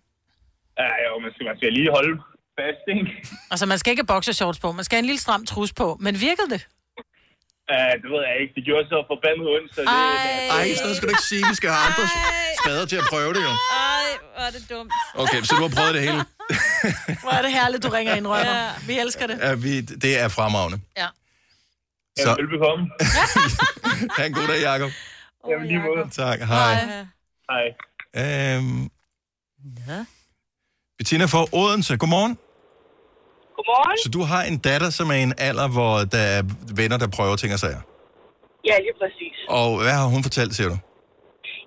S15: Ja, jo, man skal, man skal lige holde fast, ikke?
S3: Altså, man skal ikke have boxershorts på. Man skal have en lille stram trus på. Men virkede det?
S15: Uh, det ved jeg ikke. Det gjorde så forbandet ondt, så det...
S4: Ej, sådan noget skal du ikke sige. Vi skal have andre spader til at prøve det, jo.
S2: Ej, hvor er det dumt.
S4: Okay, så du har prøvet det hele.
S3: Hvor er det herligt, du ringer ind, Rønner. Ja. Vi elsker det.
S4: Ja, vi, det er fremragende.
S3: Ja.
S4: Så,
S15: Velbekomme.
S4: *laughs* ha' en god dag, Jacob.
S15: Jamen, lige måde.
S4: Tak, hej.
S15: Hej.
S4: Øhm, Bettina fra Odense, godmorgen.
S16: Godmorgen.
S4: Så du har en datter, som er i en alder, hvor der er venner, der prøver ting og sager.
S16: Ja, lige præcis.
S4: Og hvad har hun fortalt, siger du?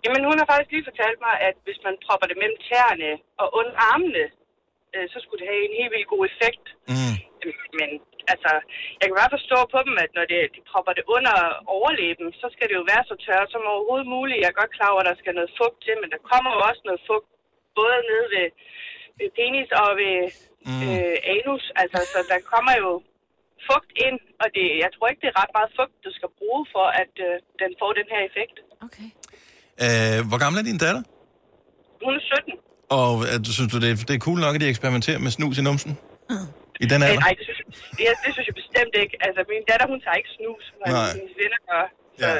S16: Jamen, hun har faktisk lige fortalt mig, at hvis man propper det mellem tæerne og under armene, øh, så skulle det have en helt vildt god effekt.
S4: Mm.
S16: Men altså, jeg kan bare forstå på dem, at når det, de propper det under overleben, så skal det jo være så tørt som overhovedet muligt. Jeg er godt klar over, at der skal noget fugt til, men der kommer jo også noget fugt både nede ved, ved penis og ved mm. øh, anus. Altså, så der kommer jo fugt ind, og det, jeg tror ikke, det er ret meget fugt, du skal bruge for, at øh, den får den her effekt.
S4: Øh, hvor gammel er din datter?
S16: Hun er 17.
S4: Og øh, synes du, det er, det er cool nok, at de eksperimenterer med snus i numsen? I den alder?
S16: Øh, Nej, det synes, det, det synes jeg bestemt ikke. Altså, min datter, hun tager ikke snus, når
S4: Nej.
S16: hendes venner gør.
S4: Ja.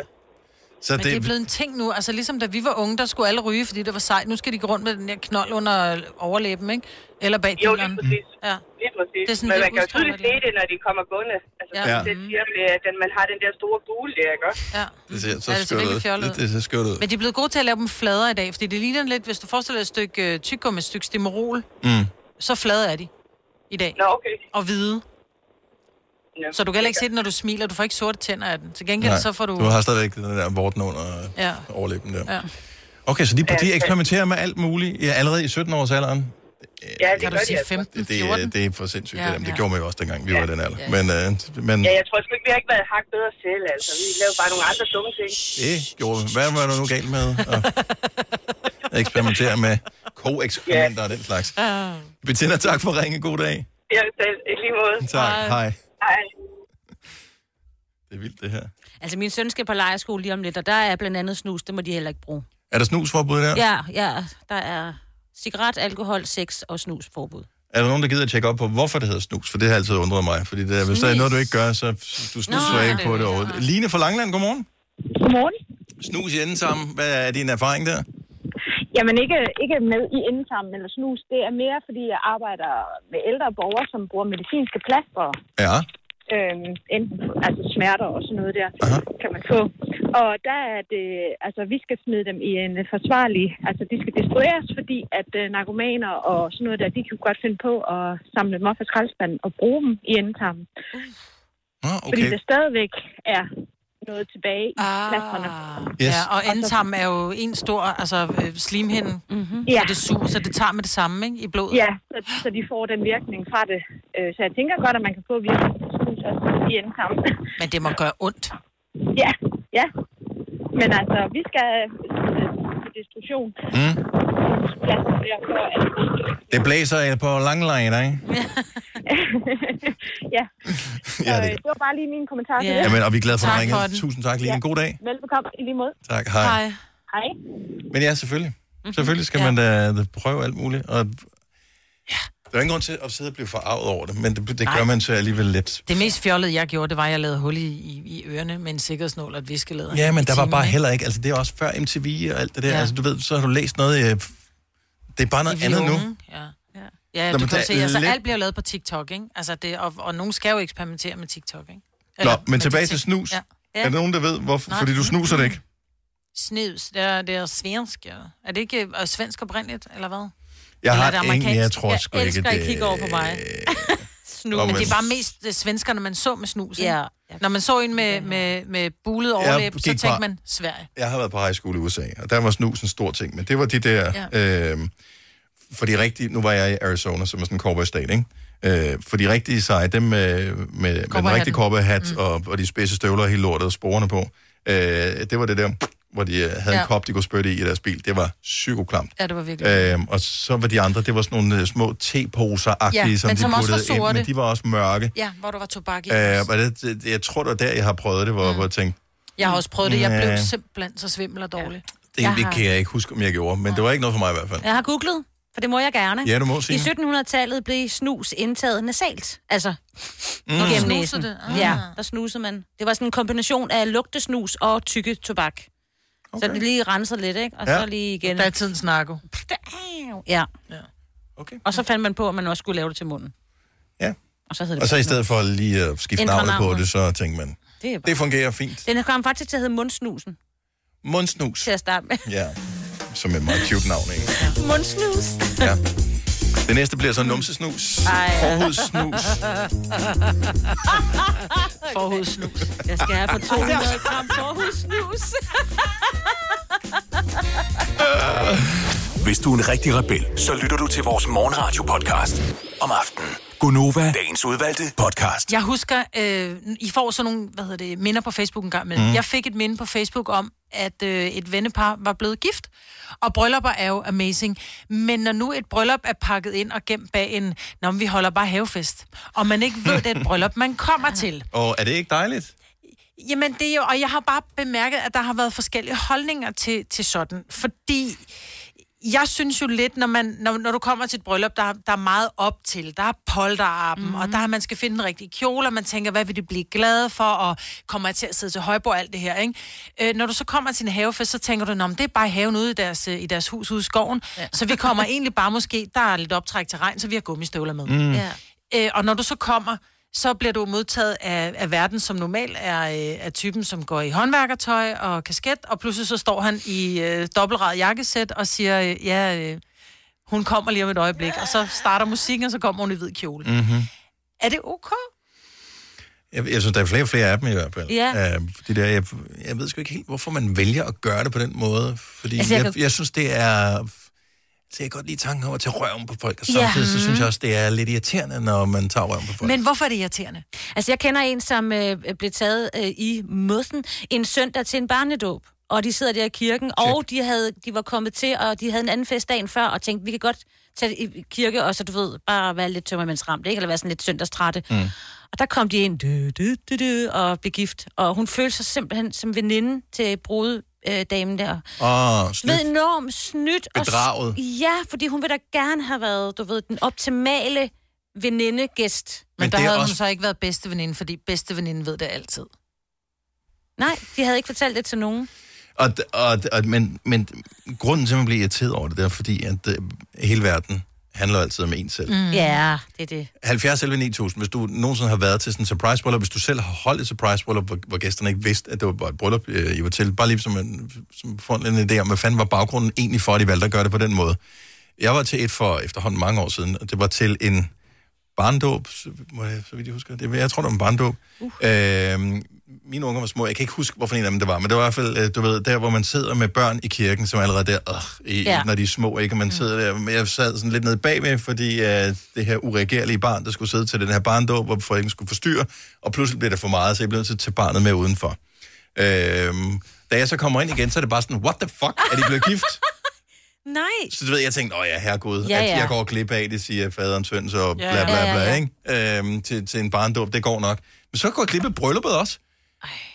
S4: Så
S3: Men det, det er blevet en ting nu. Altså ligesom da vi var unge, der skulle alle ryge, fordi det var sejt. Nu skal de gå rundt med den der knold under overlæben, ikke? Eller bag
S16: Jo,
S3: dilleren.
S16: lige præcis.
S3: Ja.
S16: Lige præcis.
S3: Det er sådan
S16: Men
S3: lidt
S16: man kan jo
S3: udstrålet,
S16: tydeligt se det, når de kommer gående. Altså,
S4: Ja.
S16: ja.
S4: Ja.
S16: det siger med, at den, man har den der store gule der, ikke også?
S3: Ja.
S4: Det ser
S3: Ja,
S4: så
S3: det ser
S4: skørt
S3: virkelig
S4: ud.
S3: fjollet
S4: Det,
S3: ud.
S4: det ser skørt ud.
S3: Men de er blevet gode til at lave dem flader i dag, fordi det ligner lidt, hvis du forestiller dig et stykke øh, tyggegummi, et stykke stimorol,
S4: Mm.
S3: så flade er de i dag.
S16: Nå, okay.
S3: Og hvide.
S16: Ja,
S3: så du kan heller ikke se det, når du smiler. Du får ikke sorte tænder af den. Til gengæld
S4: Nej,
S3: så får du...
S4: Du har stadigvæk den der vorten under
S3: Ja.
S4: overlæben der.
S3: Ja.
S4: Okay, så de, de
S3: Ja.
S4: eksperimenterer med alt muligt ja, allerede i 17-årsalderen?
S16: Ja,
S4: Kan
S16: det gør
S4: du
S16: de
S4: sige
S16: altså.
S4: Det, det, er, det er for sindssygt.
S16: Ja,
S4: Ja, det, der.
S16: ja.
S4: det gjorde man jo også dengang, vi
S16: Ja.
S4: var i den alder.
S16: Ja.
S4: Men, øh, men
S16: Ja, jeg tror sgu ikke, vi har ikke været hak bedre selv, altså. Vi laver bare nogle andre dumme ting.
S4: det gjorde Hvad var der nu galt med
S3: *laughs*
S4: at eksperimentere med ko-eksperimenter og den slags?
S16: Uh.
S4: Bettina, tak for at ringe. God dag.
S16: Ja, selv. I lige måde.
S4: Tak. Hej.
S16: Hej.
S4: Det er vildt, det her.
S2: Altså, min søn skal på lejerskole lige om lidt, og der er blandt andet snus, det må de heller ikke bruge.
S4: Er der snusforbud der?
S2: Ja, ja, ja der er cigaret, alkohol, sex og snusforbud.
S4: Er der nogen, der gider at tjekke op på, hvorfor det hedder snus? For det har altid undret mig. Fordi det er, hvis der er
S2: Snus.
S4: noget, du ikke gør, så du snuser
S2: Nå,
S4: ikke på det overhovedet. Line fra Langland, godmorgen.
S21: Godmorgen.
S4: Snus i enden sammen. Hvad er din erfaring der?
S21: Jamen ikke, ikke med i indsamling eller snus. Det er mere, fordi jeg arbejder med ældre borgere, som bruger medicinske plaster.
S4: Ja.
S21: Øhm, enten altså smerter og sådan noget der, Aha. kan man få. Og der er det, altså vi skal smide dem i en forsvarlig, altså de skal destrueres, fordi at øh, narkomaner og sådan noget der, de kan jo godt finde på at samle dem op af skraldespanden og bruge dem i indsamling.
S4: Ah,
S21: Fordi
S4: okay.
S21: der stadigvæk er noget tilbage i ah. plasterne.
S3: Yes. Ja, og endtarmen er jo en stor altså, øh, slimhinde, mm-hmm. så det suger, så det tager med det samme ikke, i blodet.
S21: Ja, så, så de får den virkning fra det. Øh, Så jeg tænker godt, at man kan få virkning på snus også i indkamp.
S3: Men det må gøre ondt.
S21: Ja,
S16: *laughs* Ja, men altså, vi skal øh, til destruktion.
S4: Mm.
S16: Plads der for, at
S4: Det blæser på langline, ikke?
S16: ja. Så,
S4: *laughs* Ja,
S16: øh,
S4: det
S16: det var bare lige min kommentar til det.
S4: Jamen, og vi er glade for, at du
S16: Tak
S4: ringede.
S16: for den.
S4: Tusind tak, Line. God dag.
S16: Velbekomme i lige måde.
S4: Tak, hej.
S16: Hej.
S4: Men ja, selvfølgelig.
S16: Mhm.
S4: Selvfølgelig skal
S16: Ja.
S4: man da, da prøve alt muligt. Og... Der er ingen grund til at sidde og blive forarvet over det, men det, det
S3: Nej.
S4: gør man så alligevel lidt.
S3: Det mest fjollede, jeg gjorde, det var, at jeg lavede hul i, i, i ørerne med en sikkerhedsnål og et viskelæder.
S4: Ja, men
S3: i
S4: der var
S3: timen,
S4: bare
S3: ikke?
S4: heller ikke, altså det er også før MTV og alt det der,
S3: Ja.
S4: ja. altså du ved, så har du læst noget, øh, det er bare noget
S3: I
S4: andet nu.
S3: Violen, Ja. Ja, ja du
S4: Nå, men
S3: kan
S4: der-
S3: se, altså
S4: lidt-
S3: alt bliver lavet på TikTok, ikke? Altså det, og, og nogen skal jo eksperimentere med Tiktok, ikke?
S4: Nå, men
S3: med
S4: tilbage
S3: de ting.
S4: til snus.
S3: Ja. Ja.
S4: Er der nogen, der ved, hvorfor?
S3: Nej.
S4: Fordi du snuser det ikke.
S3: Snus, det er, det er svensk, ja. Er det ikke øh, svensk oprindeligt, eller hvad?
S4: Jeg
S3: eller
S4: har
S3: er det
S4: ingen-
S3: amerikansk?
S4: jeg tror sgu
S3: jeg
S4: ikke,
S3: elsker, at
S4: det-
S3: I kigger over på
S4: *laughs*
S3: mig. snus.
S4: Nå,
S3: Men det
S4: men-
S3: er bare mest øh, svenskerne, man så med snus, ikke? Ja. Når man så en med, med, med bulet overlæb, så
S4: gik
S3: tænkte
S4: bare-
S3: man, Sverige.
S4: Jeg har været på high school i USA, og der var snus en stor ting, men det var de der... Ja. Øh, for de rigtige... Nu var jeg i Arizona, som er sådan en cowboy state, ikke? Øh, for de rigtige seje, dem øh, med, med, med den rigtige cowboyhat mm. og, og de spidse støvler og hele lortet og sporene på, øh, det var det der, hvor de øh, havde ja.
S3: Ja.
S4: en kop, de kunne spytte i i deres bil. Det var psykoklamt.
S3: Ja, det var virkelig.
S4: Øhm, og så var de andre, det var sådan nogle øh, små teposer-agtige,
S3: Ja,
S4: som
S3: men
S4: de
S3: som også
S4: puttede
S3: var
S4: ind,
S3: sorte.
S4: men de var også mørke.
S3: Ja, hvor der var tobak i.
S4: Øh,
S3: også.
S4: og det, det, jeg tror, det var der, jeg har prøvet det, hvor, mm. hvor jeg tænkte,
S3: Jeg har også prøvet det. Jeg blev
S4: Ja.
S3: simpelthen så svimmel og dårlig.
S4: det
S2: Jeg
S4: jeg
S2: har-
S4: kan jeg ikke huske, om jeg gjorde, men det var ikke noget for mig i hvert fald.
S2: Jeg har googlet, for det må jeg gerne.
S4: Ja, du må, Signe.
S2: I 1700-tallet blev snus indtaget nasalt. Altså,
S4: Mm.
S2: mm.
S4: Nå,
S2: gennem
S4: snusede
S2: næsen.
S4: det?
S2: Det.
S4: Ah.
S2: Ja, der snusede man. Det var sådan en kombination af lugtesnus og tykke tobak. Okay. Så det lige renser lidt, ikke? Og
S3: Ja.
S2: ja. så lige igen.
S3: Der er tidens narko.
S2: Ja.
S4: Okay.
S2: Og så fandt man på, at man også skulle lave det til munden.
S4: Ja.
S2: Og så, hed det
S4: Og så i
S2: bare
S4: stedet for lige at skifte
S2: Ændre
S4: navnet på
S2: navnet.
S4: det, så tænkte man,
S2: snus. Det, er bare...
S4: det fungerer fint.
S2: Den kom faktisk til at hedde mundsnusen,
S4: Mundsnus.
S2: til at starte med.
S4: Ja, som er et meget cute navn, ikke?
S2: *laughs* mundsnus.
S4: Ja. Det næste bliver så numsesnus.
S6: *laughs*
S4: Forhudssnus.
S3: Forhudssnus.
S2: Jeg skal have for 200 gram forhudssnus.
S19: Hvis du er en rigtig rebel, så lytter du til vores morgenradio-podcast om aftenen. Gunova, dagens udvalgte podcast.
S3: Jeg husker, øh, I får sådan nogle hvad hedder det, minder på Facebook en gang imellem.
S19: Mm.
S3: Mm. Jeg fik et minde på Facebook om, at øh, et vennepar var blevet gift. Og bryllupper er jo amazing. Men når nu et bryllup er pakket ind og gemt bag en, når vi holder bare havefest, og man ikke ved, det er et bryllup, man kommer til.
S4: Og er det ikke dejligt?
S3: Jamen, det er jo, og jeg har bare bemærket, at der har været forskellige holdninger til, til sådan, fordi jeg synes jo lidt, når, man, når, når du kommer til et bryllup, der, der er meget op til, der er polterappen, mm-hmm. og der er, man skal finde den rigtige kjole, og man tænker, hvad vil de blive glade for, og kommer jeg til at sidde til højbord, alt det her, ikke? Øh, når du så kommer til en havefest, så tænker du, "Nå, men det er bare haven ude i deres, øh, i deres hus ude i skoven, ja. så vi kommer egentlig bare måske, der er lidt optræk til regn, så vi har gummistøvler med.
S1: Mm. Ja.
S3: Øh, og når du så kommer, så bliver du modtaget af, af verden, som normalt er, øh, er typen, som går i håndværkertøj og kasket, og pludselig så står han i øh, dobbeltret jakkesæt og siger, øh, ja, øh, hun kommer lige om et øjeblik, og så starter musikken, og så kommer hun i hvid kjole. Mm.
S4: Mm-hmm.
S3: Er det okay?
S4: Jeg, jeg synes, der er flere og flere af dem i hvert fald.
S3: Ja.
S4: Øh, de der, jeg, jeg ved sgu ikke helt, hvorfor man vælger at gøre det på den måde. Fordi
S7: Altså, jeg
S4: altså, jeg, jeg,
S7: kan-
S4: jeg synes, det er... Så jeg kan godt lide tanken om at tage røven på folk, og
S2: Ja.
S4: samtidig så synes
S2: Mhm.
S4: jeg også, det er lidt irriterende, når man tager røven på folk.
S3: Men hvorfor er det irriterende?
S2: Altså, jeg kender en, som øh, blev taget øh, i møssen en søndag til en barnedåb. Og de sidder der i kirken, Shit. og de, havde, de var kommet til, og de havde en anden fest dagen før, og tænkte, vi kan godt tage i kirke, og så du ved, bare være lidt tømmermændsramt, ikke? Eller være sådan lidt søndagstrætte. Mm. Og der kom de ind, dø, dø, dø, dø, og blev gift. Og hun følte sig simpelthen som veninde til brudedamen der.
S4: Åh, oh,
S2: Ved enormt snydt. og s-
S4: Bedraget.
S2: Ja, fordi hun ville da gerne have været, du ved, den optimale venindegæst.
S3: Men, Men der havde også... hun så ikke været bedste veninde, fordi bedste veninde ved det altid.
S2: Nej, de havde ikke fortalt det til nogen.
S4: Og, og, og, men, men grunden til, at man bliver irriteret over det, det er fordi, at øh, hele verden handler altid om en selv. Mm.
S2: Ja, det er det.
S4: 70 11 9000, hvis du nogensinde har været til sådan en surprise bryllup, hvis du selv har holdt et surprise bryllup, hvor, hvor gæsterne ikke vidste, at det var bare et bryllup, øh, I var til, bare lige som en, som får en idé om, hvad fanden var baggrunden egentlig for, at de valgte at gøre det på den måde. Jeg var til et for efterhånden mange år siden, og det var til en barndåb, så, må jeg, så vidt jeg husker. Det, jeg tror, det var en barndåb. Uh. Øhm, mine unger var små. Jeg kan ikke huske, hvorfor en af dem det var, men det var i hvert fald, øh, du ved, der, hvor man sidder med børn i kirken, som er allerede der, øh, i,
S7: Ja.
S4: ja. når de er små, ikke? Og man sidder der. Men jeg sad sådan lidt nede bagved, fordi øh, det her ureagerlige barn, der skulle sidde til den her barndåb, hvor forældrene skulle forstyrre, og pludselig blev det for meget, så jeg blev nødt til at tage barnet med udenfor. Øhm, da jeg så kommer ind igen, så er det bare sådan, what the fuck, er de blevet gift?
S2: Nej.
S4: Så du ved, jeg tænkte, åh ja, herregud,
S2: Ja,
S4: ja, ja.
S2: ja.
S4: at jeg går glip af det, siger faderen, søn, så
S2: Ja,
S4: bla
S2: ja.
S4: bla
S2: Ja, ja,
S4: bla, ja,
S2: ja.
S4: ja, Ikke? Øhm, til, til en barndåb, det går nok. Men så går jeg glip af brylluppet også.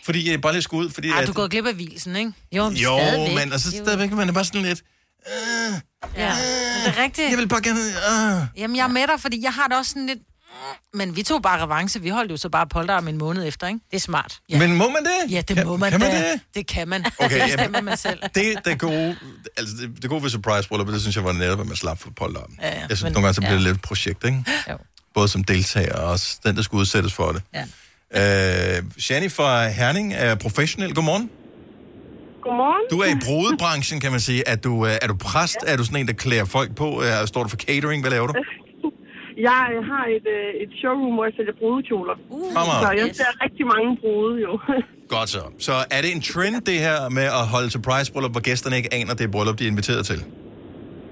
S4: Fordi jeg bare lige skulle ud, fordi...
S3: Ej,
S4: at-
S3: du er gået glip af vilsen, ikke?
S4: jo, men og så stadigvæk, man er bare sådan lidt... "Øh,
S3: Ja. Det er rigtigt. Jeg
S4: vil bare gerne... øh."
S3: Uh. Jamen, jeg er med dig, fordi jeg har det også sådan lidt... Men vi tog bare revanche. Vi holdt jo så bare polterarm en måned efter, ikke?
S2: Det er smart.
S4: Ja. Men må man det?
S3: Ja, det
S4: Kan-
S3: må man
S4: kan man
S3: da.
S4: det?
S3: øh, Det kan man. *laughs*
S4: Okay,
S3: det
S4: ja.
S3: stemmer man selv.
S4: Det, der gode, altså det, det gode ved surprise bryllup, det synes jeg var netop, at man slap for polteren.
S3: Ja, ja,
S4: jeg synes,
S3: men-
S4: nogle gange så bliver
S3: ja.
S4: det lidt et projekt, ikke?
S3: Jo.
S4: Både som deltager og også den, der skulle udsættes for det.
S3: Ja.
S4: Øh, Shani fra Herning er professionel. Godmorgen.
S11: Godmorgen.
S4: Du er i brudebranchen, kan man sige. Er du, øh, er du præst? Er du sådan en, der klæder folk på? Øh, Står du for catering? Hvad laver du?
S11: Jeg har et, øh, et showroom, hvor jeg sælger brudekjoler. Uh,
S4: Fremragende.
S11: så jeg ser rigtig mange brude, jo. *laughs*
S4: Godt så. Så er det en trend, det her med at holde surprise bryllup, hvor gæsterne ikke aner, det er bryllup, de er inviteret til?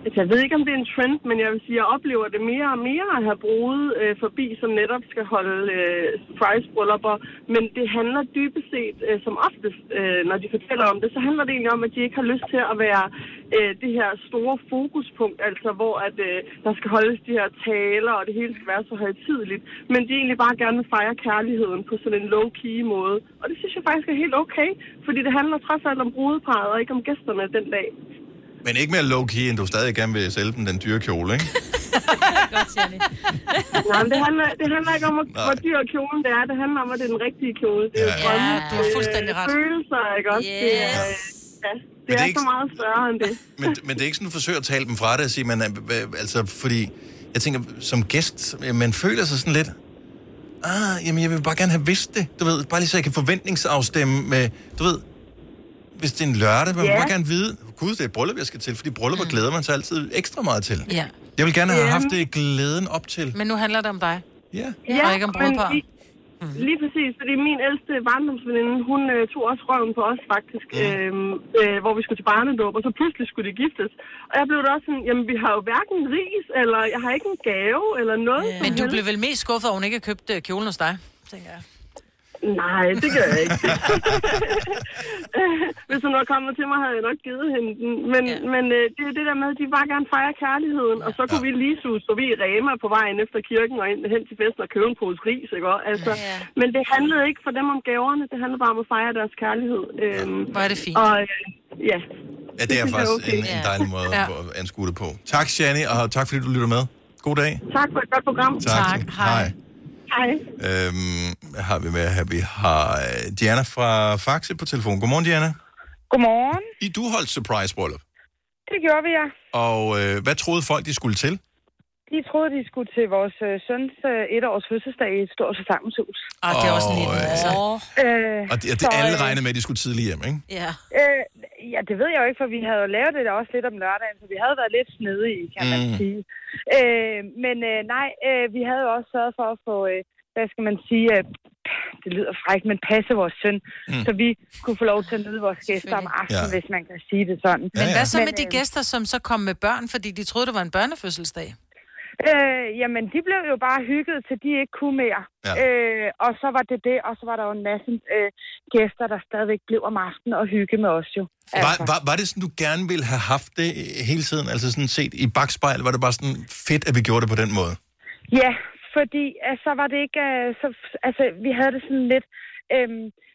S11: Altså, jeg ved ikke, om det er en trend, men jeg vil sige, jeg oplever det mere og mere at have bruget øh, forbi, som netop skal holde øh, surprise-bryllupper. Men det handler dybest set, øh, som oftest, øh, når de fortæller om det, så handler det egentlig om, at de ikke har lyst til at være øh, det her store fokuspunkt, altså hvor at, øh, der skal holdes de her taler, og det hele skal være så højtideligt. Men de egentlig bare gerne vil fejre kærligheden på sådan en low-key måde. Og det synes jeg faktisk er helt okay, fordi det handler trods alt om brudeparret og ikke om gæsterne den dag.
S4: Men ikke mere low-key, end du stadig gerne vil sælge dem den dyre kjole, ikke?
S11: *laughs* Nej, men det handler, det handler ikke om, hvor, hvor dyr kjolen det er. Det handler om, at det er den rigtige kjole. Det er
S4: Ja.
S11: drømme,
S4: Ja, du har
S11: det er
S4: fuldstændig ret.
S11: Følelser, ikke også? Det er,
S4: Yes.
S11: ja, det
S4: Men det
S11: er,
S4: er
S11: så
S4: ikke-
S11: meget større end det.
S4: Men, men det er ikke sådan, du forsøger at tale dem fra det og sige, man er, hva- altså, fordi jeg tænker, som gæst, man føler sig sådan lidt, ah, jamen jeg vil bare gerne have vidst det, du ved, bare lige så jeg kan forventningsafstemme med, du ved, hvis det er en lørdag, vil man
S11: Ja.
S4: bare gerne vide, gud, det er et bryllup, jeg skal til, fordi bryllupper glæder man sig altid ekstra meget til.
S3: Ja.
S4: Jeg vil gerne have
S3: Ja.
S4: haft det glæden op til.
S3: Men nu handler det om dig.
S4: Ja.
S3: Og ikke om
S11: men
S3: brudepar.
S11: lige,
S4: Mhm.
S11: lige præcis, fordi min ældste barndomsveninde, hun øh, tog også røven på os faktisk,
S4: Mhm.
S11: øhm, øh, hvor vi skulle til barnedåb, og så pludselig skulle de giftes. Og jeg blev da også sådan, jamen vi har jo hverken ris, eller jeg har ikke en gave, eller noget. som
S3: Men du
S11: helst.
S3: blev vel mest skuffet, at hun ikke har købt øh, kjolen hos dig, tænker jeg.
S11: Nej, det gør jeg ikke. *laughs* Hvis hun var kommet til mig, havde jeg nok givet hende den. Men, ja. men øh, det er det der med, at de bare gerne fejrer kærligheden, og så kunne vi lige suge forbi Rema på vejen efter kirken og ind, hen til festen og købe en pose ris, ikke? også? Altså, ja. Men det handlede ikke for dem om gaverne, det handlede bare om at fejre deres kærlighed. Øhm,
S3: Hvor er det fint.
S11: Og, øh, ja.
S4: Ja,
S11: Det
S4: det er
S11: synes jeg er
S4: faktisk
S11: okay.
S4: en, en dejlig måde
S11: Ja.
S4: ja. at anskue det på. Tak, Shani, og tak fordi du lytter med. God dag.
S11: Tak for et godt program.
S4: Hej.
S11: Hej.
S4: Øhm, hvad har vi med her? Vi har øh, Diana fra Faxe på telefon. Godmorgen, Diana.
S16: Godmorgen.
S4: I, du holdt surprise bryllup,
S16: Det gjorde vi, ja.
S4: og øh, hvad troede folk, de skulle til?
S16: De troede, de skulle til vores øh, søns øh, etårs fødselsdag i et stort forsamlingshus.
S4: Ah, det er også en lille, altså.
S16: Øh,
S4: Og det, det alle regnede med, at de skulle tidligt hjem, ikke?
S2: Ja.
S16: Øh, ja, det ved jeg jo ikke, for vi havde jo lavet det der også lidt om lørdagen, så vi havde været lidt snede i, kan man
S4: Mm.
S16: sige. Øh, men øh, nej, øh, vi havde jo også sørget for at få, øh, hvad skal man sige, øh, det lyder frækt, men passe vores søn,
S3: Mm.
S16: mm. så vi kunne få lov til at nyde vores gæster om aftenen,
S3: Ja.
S16: ja. hvis man kan sige det sådan.
S3: Men hvad så med
S16: øh,
S3: de gæster, som så kom med børn, fordi de troede, det var en børnefødselsdag?
S16: Øh, jamen, de blev jo bare hygget, til de ikke kunne mere.
S3: Ja.
S16: Ja. Øh, og så var det det, og så var der jo en masse øh, gæster, der stadigvæk blev om aftenen og hygge med os jo. Altså.
S4: Var, var, var det sådan, du gerne ville have haft det øh, hele tiden? Altså sådan set i bagspejl, var det bare sådan fedt, at vi gjorde det på den måde?
S16: Ja, fordi altså, så var det ikke... Øh, så, altså, vi havde det sådan lidt... Øh,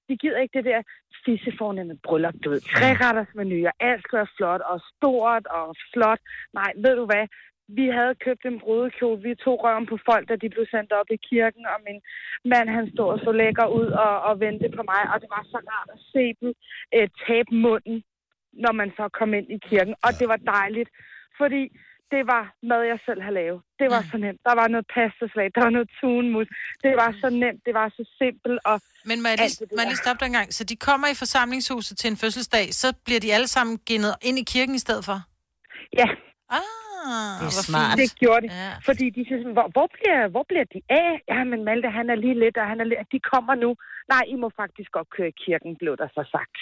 S16: vi gider ikke det der fisse fornemme bryllup, du ved. Træretters menu, og alt skal være flot, og stort, og flot. Nej, ved du hvad? Vi havde købt en brudekjole. Vi tog røven på folk, da de blev sendt op i kirken, og min mand, han stod og så lækker ud og, og ventede på mig, og det var så rart at se dem øh, tabe munden, når man så kom ind i kirken, og det var dejligt, fordi det var mad, jeg selv havde lavet. Det var så nemt. Der var noget pastaslag, der var noget tunmus. Det var så nemt, det var så simpelt. Og
S3: Men må jeg lige, må jeg lige stoppe dig en gang? Så de kommer i forsamlingshuset til en fødselsdag, så bliver de alle sammen genet ind i kirken i stedet for?
S16: Ja.
S3: Ah,
S16: Det
S3: hvor
S16: er smart.
S3: fint.
S16: Det gjorde de. Ja. Fordi de siger sådan, hvor, hvor, bliver, hvor bliver de af? Jamen Malte, han er lige lidt, og han er lidt, de kommer nu. Nej, I må faktisk godt køre i kirken, blev der så sagt.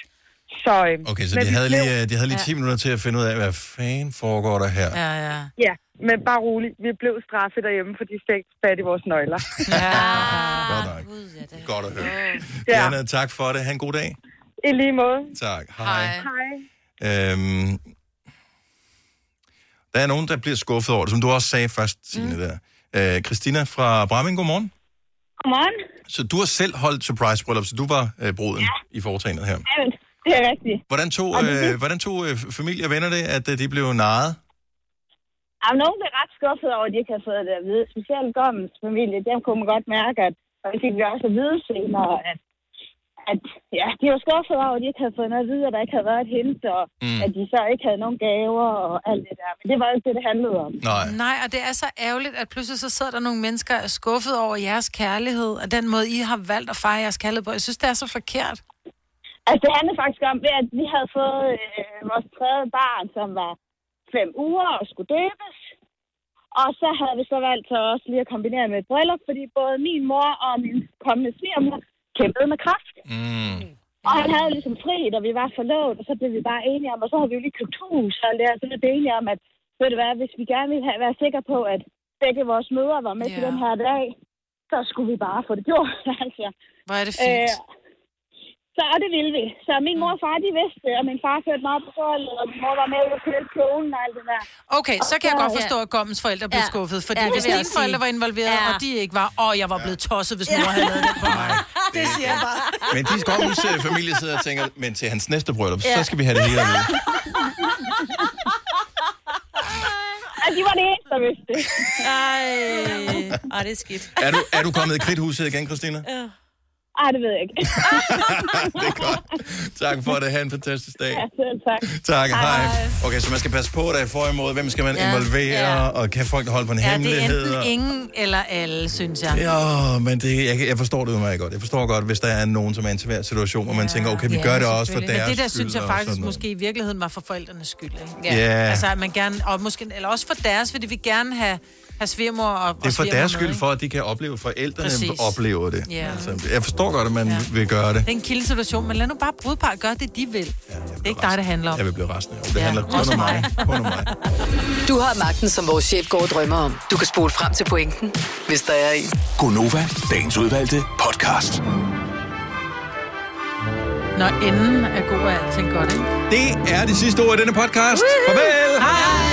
S16: Så, øhm,
S4: Okay, så
S16: men
S4: de
S16: vi
S4: havde,
S16: blev-
S4: lige, øh, de havde lige 10 minutter til at finde ud af, hvad fanden foregår der her?
S3: Ja, ja.
S16: Ja, men bare rolig. Vi blev straffet derhjemme, for de fik fat i vores nøgler.
S3: Ja.
S4: Godt at høre. Diana, tak for det. Ha' en god dag.
S12: I lige måde.
S4: Tak. Hej.
S12: Hej.
S4: Øhm, der er nogen, der bliver skuffet over det, som du også sagde først, Signe, mm. der. Øh, Christina fra Bramming, godmorgen.
S21: Godmorgen.
S4: Så du har selv holdt surprise-bryllup, så du var øh, bruden ja. i foretagendet her.
S21: Ja, men det er rigtigt.
S4: Hvordan tog, øh, hvordan tog øh, familie og venner det, at øh, de blev narret?
S21: Jamen, nogen blev ret skuffet over, at de ikke havde fået det at vide. Specielt Gommens familie, dem kunne man godt mærke, at, og det fik vi også at vide senere, at, at ja, de var skuffet over, at de ikke havde fået noget at vide, at der ikke havde været et hint, og mm. at de så ikke havde nogen gaver og alt det der. Men det var jo ikke det, det handlede om.
S3: Nej, og det er så ærgerligt, at pludselig så sidder der nogle mennesker og er skuffet over jeres kærlighed, og den måde, I har valgt at fejre jeres kærlighed på. Jeg synes, det er så forkert.
S21: Altså, det handlede faktisk om, ved at vi havde fået øh, vores tredje barn, som var fem uger og skulle døbes. Og så havde vi så valgt så også lige at kombinere med et bryllup, fordi både min mor og min kommende svigermor kæmpede med kraft.
S4: Mm.
S21: Og han havde ligesom fri, da vi var forlovet, og så blev vi bare enige om, og så havde vi jo lige købt hus og alt det, her, så blev vi enige om, at ved du hvad, hvis vi gerne ville have, være sikre på, at begge vores mødre var med yeah. til den her dag, så skulle vi bare få det gjort. *laughs* altså.
S3: Hvor er det fint.
S21: Øh,
S6: *laughs*
S21: så og det ville vi. Så min mor og far, de vidste det, og min far førte mig op på forholdet, og min mor var med ud og købe kjolen og alt det der.
S3: Okay, så kan jeg godt forstå, at Gommens forældre blev
S21: Ja.
S3: skuffet, fordi
S21: Ja, det
S3: hvis
S21: vil jeg
S3: dine
S21: sige.
S3: forældre var involveret,
S21: Ja.
S3: og de ikke var, åh, jeg var blevet tosset, hvis mor havde lavet det
S21: *laughs*
S3: på mig. Det siger jeg bare.
S4: Men de skovens øh, familie sidder og tænker, men til hans næste bryllup, ja. så skal vi have det hele med.
S21: Og de var det eneste, der vidste det.
S1: Ej, Ej det er skidt.
S4: Er du, er du kommet i kridthuset igen, Christina?
S21: Ej, det ved jeg ikke.
S4: Tak for det. Ha' en fantastisk dag.
S21: ja, selv
S4: Tak,
S21: tak.
S4: hej. Okay, så man skal passe på dig for imod. Hvem skal man
S3: Ja,
S4: involvere?
S3: ja.
S4: Og kan folk holde på en
S3: Ja, det er
S4: hemmelighed?
S3: enten
S4: og-
S3: ingen eller alle, synes jeg.
S4: Ja, men det, jeg, jeg forstår det jo meget godt. Jeg forstår godt, hvis der er nogen, som er i en svær situation, hvor man tænker, okay, vi
S3: Ja,
S4: gør det også for
S3: selvfølgelig.
S4: deres
S3: Men det der
S4: skyld
S3: synes jeg
S4: og
S3: faktisk
S4: sådan noget.
S3: måske i virkeligheden var for forældrenes skyld. Ikke?
S4: Ja. Ja.
S3: Altså, at man gerne, og måske, eller også for deres, fordi vi gerne have, have svigermor og
S4: Det er
S3: og
S4: for
S3: svigermor
S4: deres
S3: med,
S4: skyld
S3: ikke?
S4: for, at de kan opleve, at forældrene
S3: Præcis.
S4: Præcis. oplever det.
S3: Ja.
S4: Altså, jeg forstår godt, at man ja. vil gøre det.
S3: Det er en kilde situation, men lad nu bare brudpar gøre det, de vil. Ja, det er ikke dig, det handler om.
S4: Jeg vil blive resten af. Det handler kun
S3: Også
S4: om mig.
S3: mig.
S22: Du har magten, som vores chef går og drømmer om. Du kan spole frem til pointen, hvis der er en.
S19: Gonova, dagens udvalgte podcast.
S3: Når enden er god, er alting godt, ikke?
S4: Det er det sidste ord i denne podcast. Farvel!
S3: Hej!